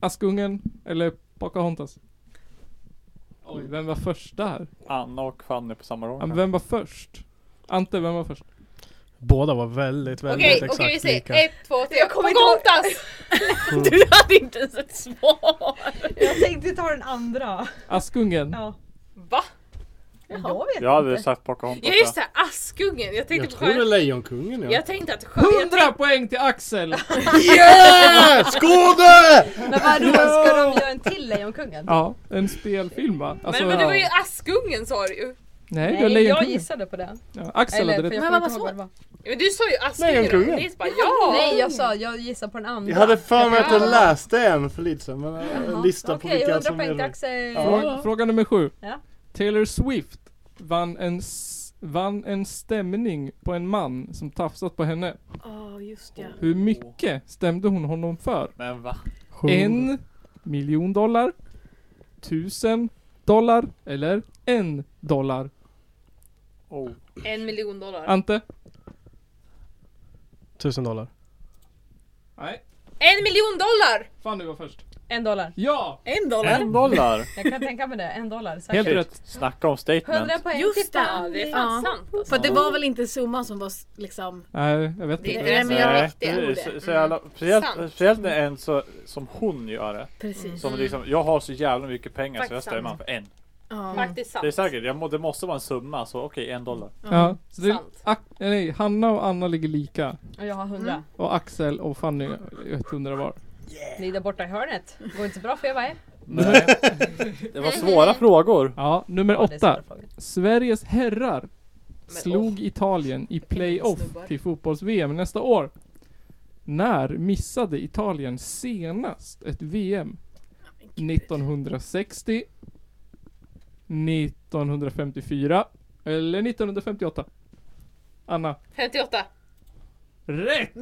[SPEAKER 1] Askungen? Eller Pocahontas? Oj, vem var först där?
[SPEAKER 2] Anna och Fanny på samma
[SPEAKER 1] Ja, men
[SPEAKER 2] gång.
[SPEAKER 1] vem var först? Ante, vem var först?
[SPEAKER 6] Båda var väldigt, väldigt
[SPEAKER 9] Okej,
[SPEAKER 6] exakt
[SPEAKER 9] okej vi säger
[SPEAKER 6] lika.
[SPEAKER 9] ett, två, tre.
[SPEAKER 4] Jag kommer inte ihåg.
[SPEAKER 9] Pocahontas! Du hade inte ens ett svar!
[SPEAKER 4] Jag tänkte ta den andra.
[SPEAKER 1] Askungen?
[SPEAKER 4] Ja.
[SPEAKER 9] Va?
[SPEAKER 4] Jag vet
[SPEAKER 2] Jag hade
[SPEAKER 4] inte.
[SPEAKER 2] sagt Pocahontas.
[SPEAKER 9] Ja just det, Askungen! Jag tänkte
[SPEAKER 3] Jag
[SPEAKER 9] på
[SPEAKER 3] tror det är
[SPEAKER 9] skön...
[SPEAKER 3] Lejonkungen ja.
[SPEAKER 9] Jag tänkte att skön...
[SPEAKER 1] 100 poäng till Axel!
[SPEAKER 3] Yeah! Skåde!
[SPEAKER 4] Men vadå, ska de göra en till Lejonkungen?
[SPEAKER 1] Ja, en spelfilm va? Alltså,
[SPEAKER 9] Men, men det var ju Askungen sa du ju!
[SPEAKER 1] Nej, det var
[SPEAKER 4] Nej, jag
[SPEAKER 1] Lejonkungen.
[SPEAKER 4] gissade på den.
[SPEAKER 1] Ja, Axel
[SPEAKER 4] Eller,
[SPEAKER 1] hade
[SPEAKER 4] för
[SPEAKER 1] rätt.
[SPEAKER 4] jag
[SPEAKER 8] Men
[SPEAKER 4] kommer
[SPEAKER 8] vad
[SPEAKER 4] inte ihåg
[SPEAKER 8] sa-
[SPEAKER 4] vad det var.
[SPEAKER 9] Men du sa ju Askungen!
[SPEAKER 3] Lejonkungen.
[SPEAKER 9] Det är bara ja!
[SPEAKER 4] Nej, jag sa, jag gissar på den andra.
[SPEAKER 3] Jag hade för mig att jag
[SPEAKER 9] Ja.
[SPEAKER 3] läste en för lite sedan, men eh,
[SPEAKER 4] Jaha.
[SPEAKER 3] en lista på
[SPEAKER 4] Okej,
[SPEAKER 3] vilka
[SPEAKER 4] 100
[SPEAKER 3] som
[SPEAKER 4] poäng
[SPEAKER 3] är
[SPEAKER 4] till
[SPEAKER 3] det.
[SPEAKER 4] Axel.
[SPEAKER 3] Ja.
[SPEAKER 1] Fråga, fråga nummer sju.
[SPEAKER 4] Ja.
[SPEAKER 1] Taylor Swift vann en, s- vann en stämning på en man som tafsat på henne.
[SPEAKER 8] Åh, just ja.
[SPEAKER 1] Hur mycket stämde hon honom för?
[SPEAKER 2] Men va?
[SPEAKER 1] En miljon dollar? Tusen dollar? Eller en dollar?
[SPEAKER 2] Oh.
[SPEAKER 9] En miljon dollar.
[SPEAKER 1] Ante?
[SPEAKER 6] Tusen dollar.
[SPEAKER 1] Nej.
[SPEAKER 9] En miljon dollar!
[SPEAKER 1] Fan du var först.
[SPEAKER 11] En dollar.
[SPEAKER 1] Ja!
[SPEAKER 8] En dollar?
[SPEAKER 2] En dollar!
[SPEAKER 11] Jag kan tänka mig det, en dollar.
[SPEAKER 1] Helt
[SPEAKER 2] Shit,
[SPEAKER 1] rätt.
[SPEAKER 2] Snacka om statement.
[SPEAKER 11] 100 poäng
[SPEAKER 8] Just
[SPEAKER 11] till
[SPEAKER 8] det,
[SPEAKER 11] Fanny.
[SPEAKER 8] det är
[SPEAKER 9] Fan
[SPEAKER 8] Ja.
[SPEAKER 9] sant alltså.
[SPEAKER 8] För det var väl inte summan som var s- liksom...
[SPEAKER 1] Nej, jag vet
[SPEAKER 4] Det
[SPEAKER 1] inte.
[SPEAKER 4] är det som gör
[SPEAKER 2] Nej,
[SPEAKER 4] riktiga
[SPEAKER 2] det är-
[SPEAKER 8] ordet.
[SPEAKER 2] så- så jävla- Speciellt
[SPEAKER 4] Sant. Mm.
[SPEAKER 2] speciellt när en så, som hon gör det.
[SPEAKER 8] Precis.
[SPEAKER 2] Som liksom, jag har så jävla mycket pengar så jag
[SPEAKER 4] Faktiskt
[SPEAKER 2] ställer mig
[SPEAKER 4] sant.
[SPEAKER 2] för en.
[SPEAKER 8] Ja.
[SPEAKER 9] Faktiskt sant.
[SPEAKER 2] Det är säkert, jag må, det måste vara en summa så okej, en dollar.
[SPEAKER 1] Ja, så det,
[SPEAKER 9] Sant.
[SPEAKER 1] Ak- nej, Hanna och Anna ligger lika.
[SPEAKER 11] Och jag har 100.
[SPEAKER 8] Mm.
[SPEAKER 1] Och Axel och Fanny är 100 var.
[SPEAKER 11] Ni där borta i hörnet. Går inte så bra för er va?
[SPEAKER 2] Nej. Det var svåra frågor.
[SPEAKER 1] Ja, nummer
[SPEAKER 11] Ja, det är svåra
[SPEAKER 1] åtta.
[SPEAKER 11] frågor.
[SPEAKER 1] Sveriges herrar
[SPEAKER 4] Men,
[SPEAKER 1] slog Italien i playoff
[SPEAKER 4] Snubbar.
[SPEAKER 1] till fotbolls-VM nästa år. När missade Italien senast ett VM? 1960, 1954 eller 1958? Anna,
[SPEAKER 9] 58.
[SPEAKER 1] rätt!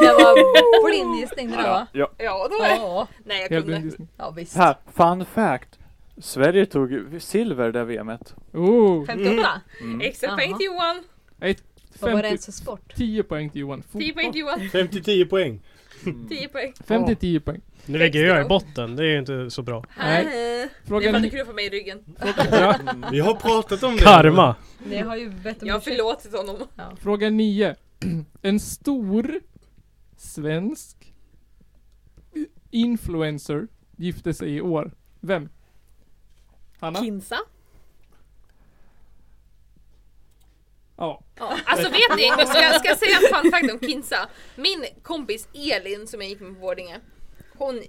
[SPEAKER 11] Det var blind gissning det där va?
[SPEAKER 2] Ja.
[SPEAKER 9] Ja, det var det.
[SPEAKER 11] Ja,
[SPEAKER 9] Nej, jag
[SPEAKER 1] Helt blind
[SPEAKER 9] kunde.
[SPEAKER 1] gissning.
[SPEAKER 11] ja visst.
[SPEAKER 2] Här, fun fact. Sverige tog silver det VMet.
[SPEAKER 1] Oh,
[SPEAKER 11] 58?
[SPEAKER 9] Mm. Extra poäng
[SPEAKER 11] Jaha.
[SPEAKER 9] till Johan.
[SPEAKER 4] Vad var
[SPEAKER 1] 50,
[SPEAKER 4] det ens för sport?
[SPEAKER 1] 10 poäng till Johan.
[SPEAKER 9] 10 poäng till Johan.
[SPEAKER 6] Mm.
[SPEAKER 3] 50-10 poäng.
[SPEAKER 9] 10 poäng.
[SPEAKER 1] 50-10 poäng.
[SPEAKER 6] Nu ligger jag i botten, det är ju inte så bra.
[SPEAKER 1] Nej.
[SPEAKER 9] Nej. Det är för
[SPEAKER 1] Frågan
[SPEAKER 9] att du knuffar mig i ryggen.
[SPEAKER 1] Ja.
[SPEAKER 3] Vi har pratat om det.
[SPEAKER 6] Karma!
[SPEAKER 11] Ni har ju bett om
[SPEAKER 9] Jag har
[SPEAKER 11] ursäkt.
[SPEAKER 9] förlåtit honom.
[SPEAKER 1] Fråga 9. En stor svensk influencer gifte sig i år. Vem? Hanna?
[SPEAKER 8] Kinsa?
[SPEAKER 1] Ja.
[SPEAKER 9] Ja. Alltså vet ni, jag ska, ska jag säga en fun fact om Kinsa. Min kompis Elin som jag gick med på Vårdinge, hon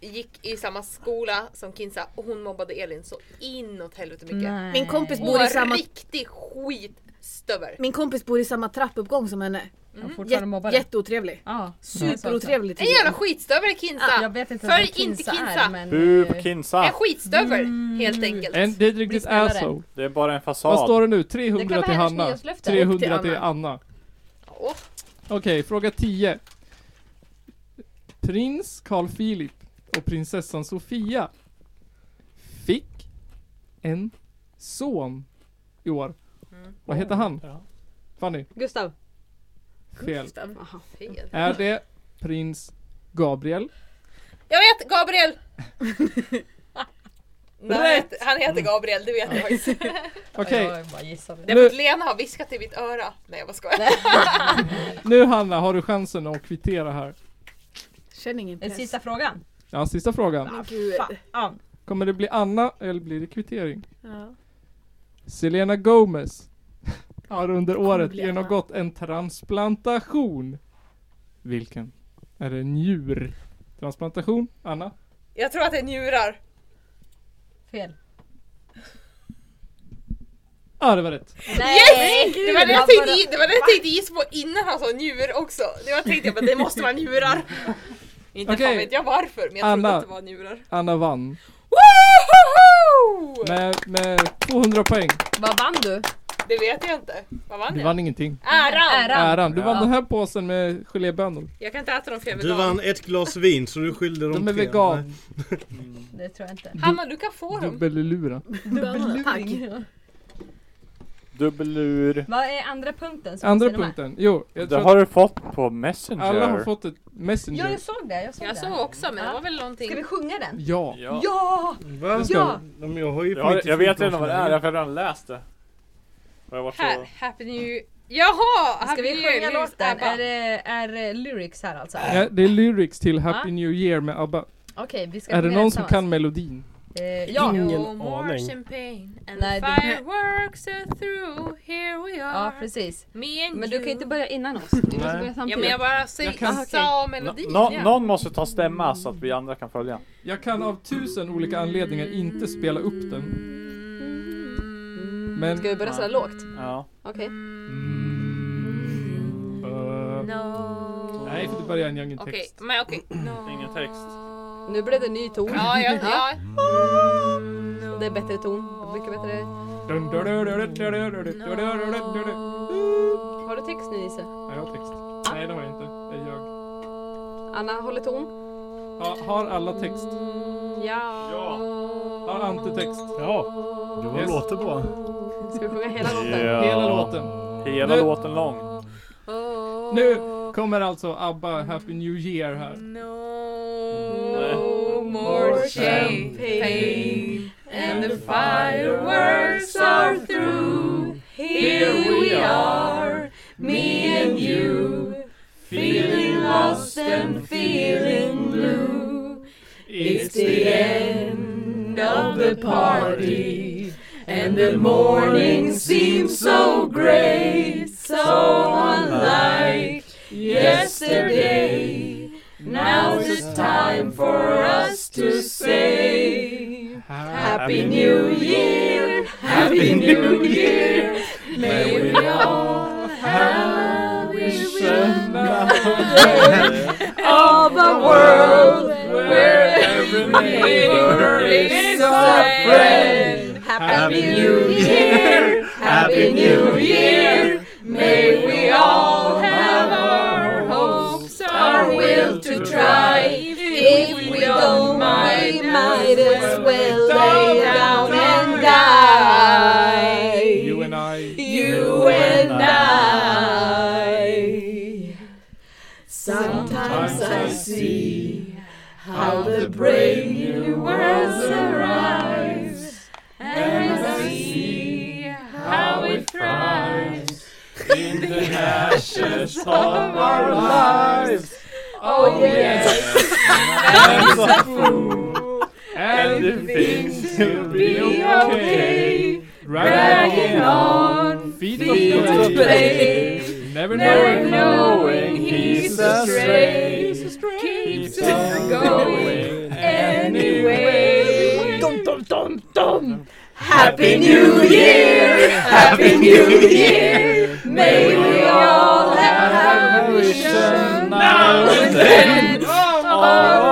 [SPEAKER 9] gick i samma skola som Kinsa och hon mobbade Elin så inåt helvete mycket.
[SPEAKER 11] Nej.
[SPEAKER 8] Min kompis
[SPEAKER 9] Hon var
[SPEAKER 8] bor i
[SPEAKER 9] en
[SPEAKER 8] samma...
[SPEAKER 9] riktig skitstövel.
[SPEAKER 8] Min kompis bor i samma trappuppgång som henne.
[SPEAKER 11] Jag har fortfarande
[SPEAKER 8] Jät-
[SPEAKER 11] mobbare.
[SPEAKER 8] jätteotrevlig.
[SPEAKER 11] Ja,
[SPEAKER 8] Superotrevlig
[SPEAKER 9] Mm. En
[SPEAKER 8] till
[SPEAKER 9] jävla skitstövel Kinsa!
[SPEAKER 11] Jag vet inte
[SPEAKER 9] För
[SPEAKER 11] vad
[SPEAKER 9] inte
[SPEAKER 11] Kinsa
[SPEAKER 9] Kinsa.
[SPEAKER 11] är men... Mm.
[SPEAKER 2] Bu på
[SPEAKER 11] eh,
[SPEAKER 9] En
[SPEAKER 2] Kinsa.
[SPEAKER 9] skitstövel helt enkelt.
[SPEAKER 1] En, det är ett riktigt
[SPEAKER 11] snällare.
[SPEAKER 1] asshole.
[SPEAKER 2] Det är bara en
[SPEAKER 1] Vad står
[SPEAKER 2] fasad.
[SPEAKER 1] det nu?
[SPEAKER 11] Det kan
[SPEAKER 1] 300
[SPEAKER 11] vara
[SPEAKER 1] till
[SPEAKER 11] hennes
[SPEAKER 1] Hanna.
[SPEAKER 11] nyårslöfte.
[SPEAKER 1] 300
[SPEAKER 8] Och till
[SPEAKER 1] till Anna.
[SPEAKER 9] Åh,
[SPEAKER 1] Okej, fråga 10. Prins Carl Philip och prinsessan Sofia fick en son i år. Vad heter han? Fanny?
[SPEAKER 4] Gustav?
[SPEAKER 1] Fel.
[SPEAKER 8] Gustav.
[SPEAKER 4] Jaha.
[SPEAKER 9] fel.
[SPEAKER 1] Är det prins Gabriel?
[SPEAKER 9] Jag vet! Gabriel! Nej, han heter- han heter
[SPEAKER 1] Mm.
[SPEAKER 9] Gabriel, det vet jag faktiskt.
[SPEAKER 1] Okej,
[SPEAKER 11] Jag bara gissade.
[SPEAKER 9] Det var att Lena har viskat i mitt öra. Nej jag bara skojar.
[SPEAKER 1] nu Hanna har du chansen att kvittera här.
[SPEAKER 8] Känner ingen
[SPEAKER 11] Den
[SPEAKER 8] press.
[SPEAKER 11] sista frågan.
[SPEAKER 1] Ja, sista frågan.
[SPEAKER 8] Men gud.
[SPEAKER 11] Fan.
[SPEAKER 1] Kommer det bli Anna eller blir det kvittering?
[SPEAKER 8] Ja.
[SPEAKER 1] Selena Gomez har under året
[SPEAKER 8] bli Anna.
[SPEAKER 1] genomgått en transplantation. Vilken? Är det en njurtransplantation? Anna?
[SPEAKER 9] Jag tror att det är njurar.
[SPEAKER 11] Fel.
[SPEAKER 1] Ja, det var rätt.
[SPEAKER 11] Nej!
[SPEAKER 9] Yes! Det var det jag
[SPEAKER 11] jag
[SPEAKER 9] tänkte, det var det jag tänkte gissa på innan han sa njur också. Det var tänkte jag bara, det måste vara njurar. Inte
[SPEAKER 1] Okej.
[SPEAKER 9] fan vet jag varför men jag trodde
[SPEAKER 1] Anna.
[SPEAKER 9] att det var njurar.
[SPEAKER 1] Anna vann
[SPEAKER 9] Woho!
[SPEAKER 1] med, med 200 poäng.
[SPEAKER 11] Vad vann du?
[SPEAKER 9] Det vet jag inte. Vad vann
[SPEAKER 1] Du
[SPEAKER 9] jag?
[SPEAKER 1] vann ingenting.
[SPEAKER 9] Äran!
[SPEAKER 11] Äran.
[SPEAKER 1] Äran. Du vann
[SPEAKER 11] Ja.
[SPEAKER 1] den här påsen med gelébönor.
[SPEAKER 9] Jag kan inte äta dem för jag är
[SPEAKER 3] Du
[SPEAKER 9] vegan.
[SPEAKER 3] vann ett glas vin så du skyllde de
[SPEAKER 1] De är
[SPEAKER 3] tre.
[SPEAKER 1] vegan.
[SPEAKER 11] Det tror jag inte.
[SPEAKER 9] Hanna du kan få dem.
[SPEAKER 1] Dubbellura.
[SPEAKER 8] Tack.
[SPEAKER 2] Dubbelur.
[SPEAKER 11] Vad är andra punkten? som
[SPEAKER 1] Andra
[SPEAKER 11] vi ser de här?
[SPEAKER 1] punkten. Jo, jag
[SPEAKER 2] Det
[SPEAKER 1] tror
[SPEAKER 2] har du fått på
[SPEAKER 1] att alla har
[SPEAKER 2] Messenger.
[SPEAKER 1] fått ett
[SPEAKER 11] Ja,
[SPEAKER 1] messenger.
[SPEAKER 11] jag såg det. Jag såg
[SPEAKER 9] Jag
[SPEAKER 11] det.
[SPEAKER 9] såg också men det var väl
[SPEAKER 11] Ska vi
[SPEAKER 9] någonting.
[SPEAKER 11] sjunga den?
[SPEAKER 1] Ja.
[SPEAKER 2] Ja.
[SPEAKER 11] Ja!
[SPEAKER 3] Va?
[SPEAKER 11] Ja!
[SPEAKER 3] Men jag har ju
[SPEAKER 2] Jag, har,
[SPEAKER 3] inte
[SPEAKER 2] jag vet
[SPEAKER 3] flygplan
[SPEAKER 2] redan vad det är,
[SPEAKER 3] som
[SPEAKER 2] jag har redan läst det. Och jag var
[SPEAKER 9] Här,
[SPEAKER 2] så...
[SPEAKER 9] Happy New Jaha!
[SPEAKER 11] Ska
[SPEAKER 9] Happy
[SPEAKER 11] vi
[SPEAKER 9] New
[SPEAKER 11] sjunga
[SPEAKER 9] Year, Lewis
[SPEAKER 11] låten?
[SPEAKER 9] Abba.
[SPEAKER 11] Är det, är det lyrics här alltså?
[SPEAKER 1] Ja, det är lyrics till Happy
[SPEAKER 11] Ja.
[SPEAKER 1] New Year med ABBA.
[SPEAKER 11] Okej, vi ska
[SPEAKER 1] Är det
[SPEAKER 11] sjunga den
[SPEAKER 1] någon som kan
[SPEAKER 11] tillsammans.
[SPEAKER 1] melodin?
[SPEAKER 11] Eh, ja.
[SPEAKER 6] Ingen
[SPEAKER 9] no more
[SPEAKER 6] aning.
[SPEAKER 9] champagne and
[SPEAKER 11] Nej,
[SPEAKER 9] the
[SPEAKER 11] det-
[SPEAKER 9] fireworks are through, here we are.
[SPEAKER 11] ja, precis.
[SPEAKER 9] Me and
[SPEAKER 4] Men
[SPEAKER 9] you.
[SPEAKER 4] du kan inte Ah, börja innan oss. Vi måste börja
[SPEAKER 9] Ja
[SPEAKER 4] samtidigt.
[SPEAKER 9] men jag bara säger,
[SPEAKER 1] Jag kan-
[SPEAKER 9] sa
[SPEAKER 2] Nå-
[SPEAKER 9] melodin.
[SPEAKER 2] nå-
[SPEAKER 9] ja.
[SPEAKER 2] någon måste ta stämma så att vi andra kan följa.
[SPEAKER 1] Jag kan av tusen olika anledningar inte spela upp den. Men...
[SPEAKER 4] Ska vi börja sådär lågt?
[SPEAKER 1] Mm.
[SPEAKER 2] Ja.
[SPEAKER 4] Okej.
[SPEAKER 9] Mm.
[SPEAKER 1] Eh,
[SPEAKER 9] No.
[SPEAKER 1] nej, för det börjar jag ingen text.
[SPEAKER 9] Okej, men okej. No.
[SPEAKER 2] Ingen text.
[SPEAKER 4] Nu blev det ny ton.
[SPEAKER 9] Ja, ja, ja.
[SPEAKER 4] Det är bättre ton. Mycket bättre.
[SPEAKER 1] Dun, dun, dun, dun, dun, dun, dun, dun, dun, dun, dun, dun, dun, dun.
[SPEAKER 4] Har du text nu Nisse?
[SPEAKER 1] Nej, jag har text. Nej, det har jag inte. Det är jag.
[SPEAKER 4] Anna håller ton.
[SPEAKER 1] Ha, har alla text?
[SPEAKER 4] Ja.
[SPEAKER 1] Har antetext?
[SPEAKER 6] Ja,
[SPEAKER 3] är. Det
[SPEAKER 1] Yes.
[SPEAKER 3] låter bra.
[SPEAKER 4] Ska vi sjunga hela låten?
[SPEAKER 1] Hela låten.
[SPEAKER 2] Hela
[SPEAKER 1] Nu-
[SPEAKER 9] Oh.
[SPEAKER 2] låten lång.
[SPEAKER 1] Nu! Kommer alltså ABBA Happy New Year här.
[SPEAKER 9] No more champagne and the fireworks are through. Here we are, me and you, feeling lost and feeling blue. It's the end of the party and the morning seems so gray, so unlike yesterday. Now it's time for us to say Happy New Year, Happy New Year. May we all have vision of a world where every neighbor is a friend. Happy New Year, Happy New Year. May we all have our hopes, our will to try. If we don't mind, might as well lay down and die.
[SPEAKER 1] You and I.
[SPEAKER 9] You and I. Sometimes I see how the brave new worlds arise, and I see how it thrives in the ashes of our lives. Oh yes, man's a fool, and he thinks he'll be okay, dragging on
[SPEAKER 1] Feet of
[SPEAKER 9] feet of
[SPEAKER 1] clay.
[SPEAKER 9] clay.
[SPEAKER 1] Never
[SPEAKER 9] Never
[SPEAKER 1] knowing.
[SPEAKER 9] knowing he's astray, keeps on going anyway. Dum, dum, dum, dum. Happy New Year! Happy New Year! May we all have a vision now and then of a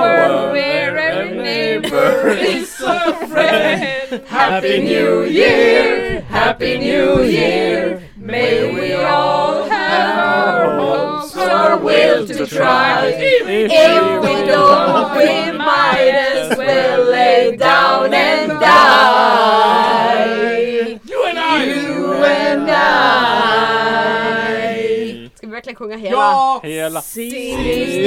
[SPEAKER 9] world where every neighbor is a friend. Happy New Year! Happy New Year! May we all have our hopes, our will to try. If we don't, we might as well lay down and die.
[SPEAKER 1] You and I!
[SPEAKER 9] You and I.
[SPEAKER 4] Ska vi verkligen sjunga hela?
[SPEAKER 1] Ja!
[SPEAKER 2] Hela.
[SPEAKER 9] Seems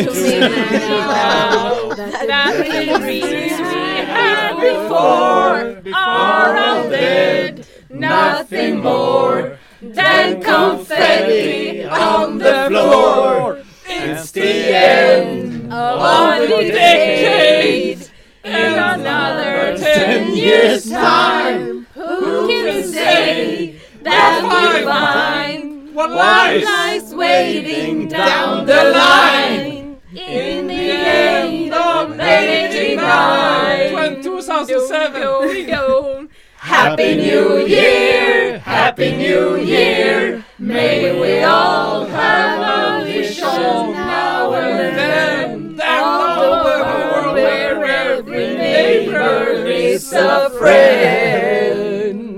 [SPEAKER 9] to me now that the dreams we had before are all dead. Nothing more than confetti on the floor. It's the end of the decade. In another ten years' time, who can say that we find
[SPEAKER 1] What
[SPEAKER 9] what
[SPEAKER 1] lies!
[SPEAKER 9] lies waiting down the line? In the end of 89.
[SPEAKER 1] 2007!
[SPEAKER 9] Happy New Year! Happy New Year! May we all have a vision now and then. All over where every neighbor is a friend.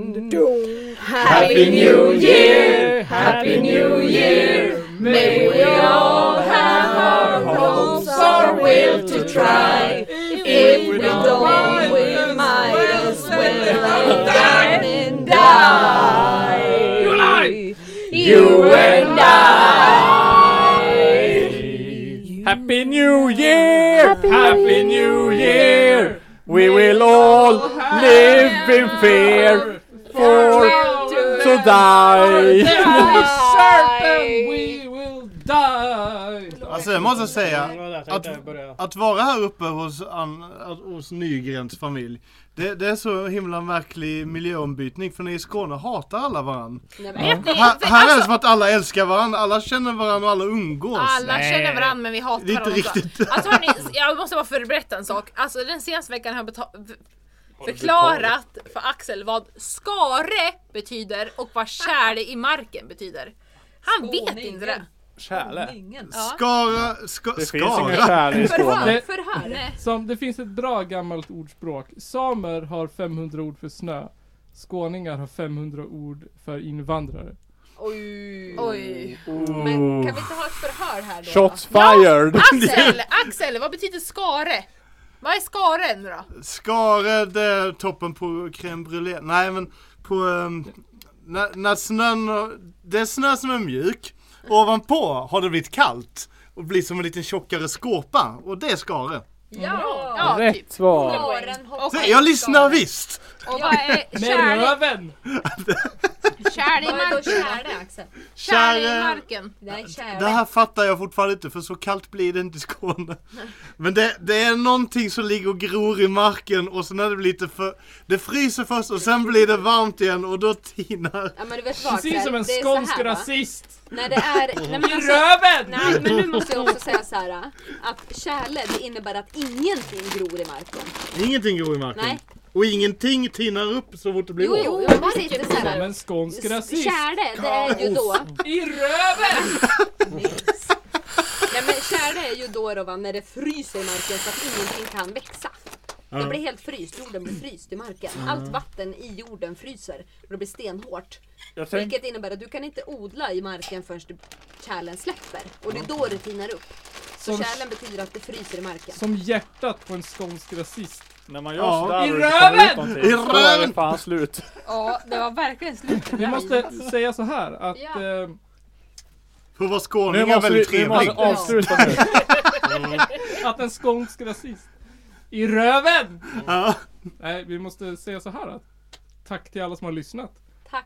[SPEAKER 9] Happy New Year! Happy New Year! May we all have our hopes, our will to try. If we don't, we might as well die and die. You You and I.
[SPEAKER 2] Happy New Year! Happy New Year! We will all live in fear for to die.
[SPEAKER 1] Certain we will die!
[SPEAKER 7] Alltså jag måste
[SPEAKER 6] Det
[SPEAKER 7] säga.
[SPEAKER 6] var där jag tänkte
[SPEAKER 7] Att,
[SPEAKER 6] börja.
[SPEAKER 7] att vara här uppe hos, An, att- hos Nygrens familj. Det, det är så himla märklig miljöombytning för ni i Skåne hatar alla varann.
[SPEAKER 4] Nej, men-
[SPEAKER 9] Vet ni,
[SPEAKER 7] Här, här är det
[SPEAKER 9] alltså,
[SPEAKER 7] som att alla älskar varann, alla känner varann och alla umgås.
[SPEAKER 9] alla känner varandra men vi hatar
[SPEAKER 7] Det är inte
[SPEAKER 9] varandra också.
[SPEAKER 7] riktigt.
[SPEAKER 9] Alltså hörni, jag måste bara förberätta en sak. Alltså den senaste veckan har jag beta- förklarat för Axel vad skare betyder och vad kärle i marken betyder. Han vet inte det.
[SPEAKER 2] Kärle.
[SPEAKER 4] Ingen.
[SPEAKER 7] Skara, ska,
[SPEAKER 2] Det finns ingen
[SPEAKER 7] skara.
[SPEAKER 2] kärle i Skåne.
[SPEAKER 3] Eh.
[SPEAKER 1] Det-
[SPEAKER 4] Förhör, förhör.
[SPEAKER 1] Som, det finns ett bra gammalt ordspråk. Samer har 500 ord för snö. Skåningar har 500 ord för invandrare.
[SPEAKER 4] Oj.
[SPEAKER 9] Oj.
[SPEAKER 3] Oh.
[SPEAKER 4] Men kan vi inte ha ett förhör här då?
[SPEAKER 2] Shots fired!
[SPEAKER 9] Axel, Axel, vad betyder skare? Vad är skare nu då?
[SPEAKER 7] Skare, det är toppen på crème brûlée. Nej men på... ehm, när, när snön... har- Det är snö som är mjuk.
[SPEAKER 3] Ovanpå har det blivit kallt och blir som en liten tjockare skåpa och det ska det.
[SPEAKER 4] Ja,
[SPEAKER 2] Ja,
[SPEAKER 4] ja
[SPEAKER 2] Rätt
[SPEAKER 4] typ.
[SPEAKER 2] svar!
[SPEAKER 4] Åren hoppar
[SPEAKER 3] Se,
[SPEAKER 4] i
[SPEAKER 3] jag lyssnar
[SPEAKER 4] skalet.
[SPEAKER 3] visst!
[SPEAKER 4] Och vad är
[SPEAKER 1] Med
[SPEAKER 4] kärlek?
[SPEAKER 1] röven!
[SPEAKER 4] Kärlek i
[SPEAKER 12] Vad är då
[SPEAKER 4] marken.
[SPEAKER 12] kärle Axel?
[SPEAKER 4] Kärlek i
[SPEAKER 3] Käre-
[SPEAKER 4] marken.
[SPEAKER 12] Det är kärle.
[SPEAKER 3] Det här fattar jag fortfarande inte för så kallt blir det inte i Skåne. Men det, det är någonting som ligger och gror i marken och sen är det lite för... Det fryser först och sen blir det varmt igen och då tinar...
[SPEAKER 9] Ja men du vet vad
[SPEAKER 1] Precis
[SPEAKER 9] Axel,
[SPEAKER 1] som en
[SPEAKER 9] det är så
[SPEAKER 1] skånsk
[SPEAKER 9] här, va?
[SPEAKER 1] rasist!
[SPEAKER 9] Nej det är... Nej men,
[SPEAKER 1] I
[SPEAKER 9] alltså,
[SPEAKER 1] röven!
[SPEAKER 9] nej men nu måste jag också säga så här att kärle det innebär att ingenting gror i marken.
[SPEAKER 3] Ingenting gror i marken.
[SPEAKER 9] Nej.
[SPEAKER 3] Och ingenting tinar upp så fort det blir
[SPEAKER 9] Jo
[SPEAKER 3] vår.
[SPEAKER 9] jo, jo men precis, det är så
[SPEAKER 1] Som
[SPEAKER 9] här.
[SPEAKER 1] en skånsk rasist!
[SPEAKER 9] Kärle det är ju då...
[SPEAKER 1] I röven!
[SPEAKER 9] Nej men kärle är ju då, då va, när det fryser i marken så att ingenting kan växa. Det blir helt fryst, jorden blir fryst i marken.
[SPEAKER 1] Mm.
[SPEAKER 9] Allt vatten i jorden fryser och det blir stenhårt.
[SPEAKER 2] Jag tänk,
[SPEAKER 9] Vilket innebär att du kan inte odla i marken förrän du- kärlen släpper. Och det är då det tinar upp. Så
[SPEAKER 1] Som-
[SPEAKER 9] kärlen betyder att det fryser i marken.
[SPEAKER 1] Som hjärtat på en skånsk rasist.
[SPEAKER 2] när man gör
[SPEAKER 3] Ja.
[SPEAKER 2] sådär
[SPEAKER 1] I
[SPEAKER 2] och det kommer
[SPEAKER 1] röven!
[SPEAKER 2] ut någonting,
[SPEAKER 3] I
[SPEAKER 2] då är det
[SPEAKER 3] röven!
[SPEAKER 2] fan slut.
[SPEAKER 12] Ja, det var verkligen slut.
[SPEAKER 1] Vi måste säga så här att...
[SPEAKER 9] Ja.
[SPEAKER 1] Eh,
[SPEAKER 3] För att vara skåning
[SPEAKER 2] Nu
[SPEAKER 3] är
[SPEAKER 2] måste, vi,
[SPEAKER 3] väldigt
[SPEAKER 2] nu måste
[SPEAKER 3] trevlig.
[SPEAKER 2] vi avsluta nu.
[SPEAKER 1] Att en skånsk rasist. I röven!
[SPEAKER 3] Ja.
[SPEAKER 1] Nej, vi måste säga så här. att Tack till alla som har lyssnat.
[SPEAKER 9] Tack.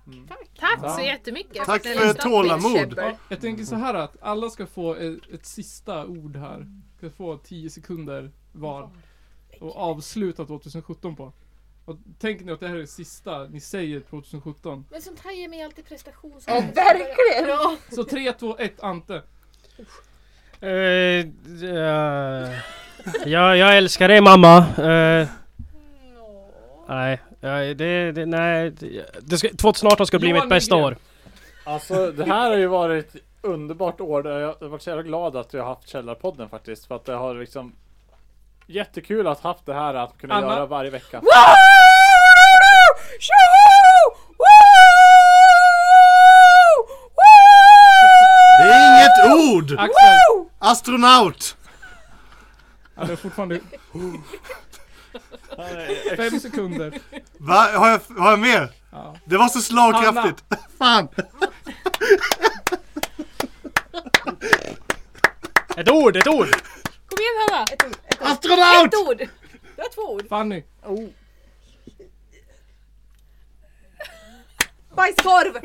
[SPEAKER 4] Tack så jättemycket.
[SPEAKER 3] Tack
[SPEAKER 4] Det
[SPEAKER 3] för
[SPEAKER 4] lyssnat.
[SPEAKER 3] tålamod.
[SPEAKER 4] Käbbel.
[SPEAKER 1] Jag tänker så här att alla ska få ett, ett sista ord här. Ska få 10 sekunder var. Och avsluta 2017 på. Och tänk nu att det här är det sista ni säger 2017.
[SPEAKER 13] Men sånt här ger mig alltid prestation.
[SPEAKER 4] Ja, verkligen.
[SPEAKER 1] Så 3, 2, 1, Ante.
[SPEAKER 6] Eh, eh, jag, jag älskar dig mamma. Eh, nej, jag- det, det, nej. det- Det ska, 2018 ska bli
[SPEAKER 1] Johan
[SPEAKER 6] mitt bästa
[SPEAKER 1] Nygren.
[SPEAKER 6] år.
[SPEAKER 2] Alltså det här har ju varit ett underbart år där jag har varit så jävla glad att jag har haft Källarpodden faktiskt. För att det har liksom Jättekul att haft det här att kunna
[SPEAKER 1] Anna?
[SPEAKER 2] göra varje vecka.
[SPEAKER 3] Det är inget ord!
[SPEAKER 1] Axel!
[SPEAKER 3] Astronaut!
[SPEAKER 1] Ja, det är fortfarande
[SPEAKER 2] Han är
[SPEAKER 1] 5 sekunder.
[SPEAKER 3] Va? Har jag, har jag mer?
[SPEAKER 1] Ja.
[SPEAKER 3] Det var så slagkraftigt. Fan!
[SPEAKER 6] Ett ord, ett ord!
[SPEAKER 4] Kom igen Hanna! Ett ord.
[SPEAKER 3] Astronaut!
[SPEAKER 4] Ett ord. Du har två ord.
[SPEAKER 1] Fanny.
[SPEAKER 9] Bajskorv!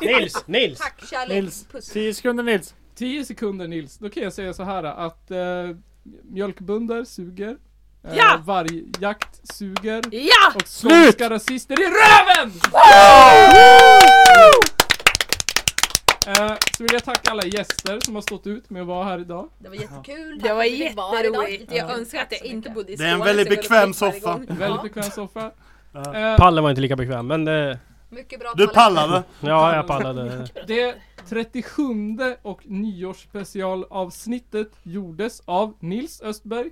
[SPEAKER 6] Nils, Nils!
[SPEAKER 9] Tack kärlek.
[SPEAKER 2] Nils.
[SPEAKER 9] Puss.
[SPEAKER 2] 10 sekunder Nils.
[SPEAKER 1] 10 sekunder Nils, då kan jag säga så här att eh, mjölkbönder suger. Eh,
[SPEAKER 4] Ja!
[SPEAKER 1] Vargjakt suger.
[SPEAKER 4] Ja!
[SPEAKER 1] Och skånska rasister i röven! Eh, så vill jag tacka alla gäster som har stått ut med att vara här idag.
[SPEAKER 9] Det var jättekul.
[SPEAKER 4] Det var
[SPEAKER 9] Tack för att vi var
[SPEAKER 4] jätteroligt.
[SPEAKER 9] idag.
[SPEAKER 4] Jag önskar att jag inte bodde i
[SPEAKER 3] Det är en
[SPEAKER 4] Skåne,
[SPEAKER 3] väldigt
[SPEAKER 4] så jag går och
[SPEAKER 3] bekväm
[SPEAKER 4] fick varje
[SPEAKER 3] soffa.
[SPEAKER 4] gång.
[SPEAKER 1] Väldigt bekväm soffa. Eh,
[SPEAKER 6] Pallen var inte lika bekväm men eh,
[SPEAKER 9] Mycket bra
[SPEAKER 3] Du
[SPEAKER 9] talat.
[SPEAKER 3] pallade.
[SPEAKER 6] ja, jag pallade.
[SPEAKER 1] det 37 och nyårsspecialavsnittet gjordes av Nils Östberg.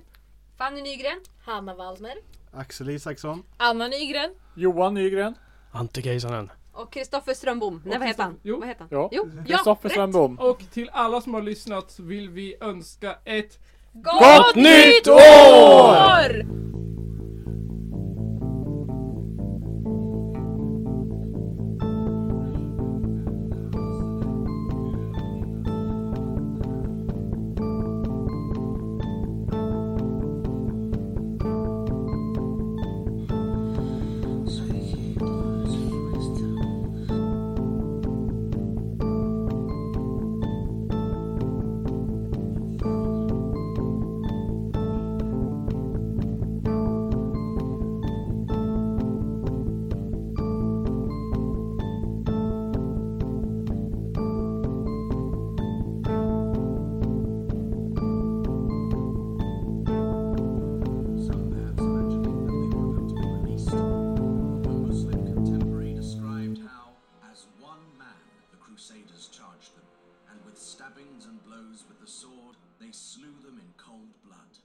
[SPEAKER 9] Fanny Nygren.
[SPEAKER 13] Hanna Wallner.
[SPEAKER 3] Axel Isaksson.
[SPEAKER 4] Anna Nygren.
[SPEAKER 2] Johan Nygren.
[SPEAKER 6] Ante Keisanen.
[SPEAKER 9] Och Kristoffer Strömbom. Nej vad heter han?
[SPEAKER 1] Jo.
[SPEAKER 9] Vad heter han?
[SPEAKER 2] Ja.
[SPEAKER 9] Jo. Ja.
[SPEAKER 2] Kristoffer Strömbom.
[SPEAKER 1] Och till alla som har lyssnat så vill vi önska ett
[SPEAKER 4] Gott
[SPEAKER 6] nytt
[SPEAKER 4] år!
[SPEAKER 5] Stabbings and blows with the sword, they slew them in cold blood.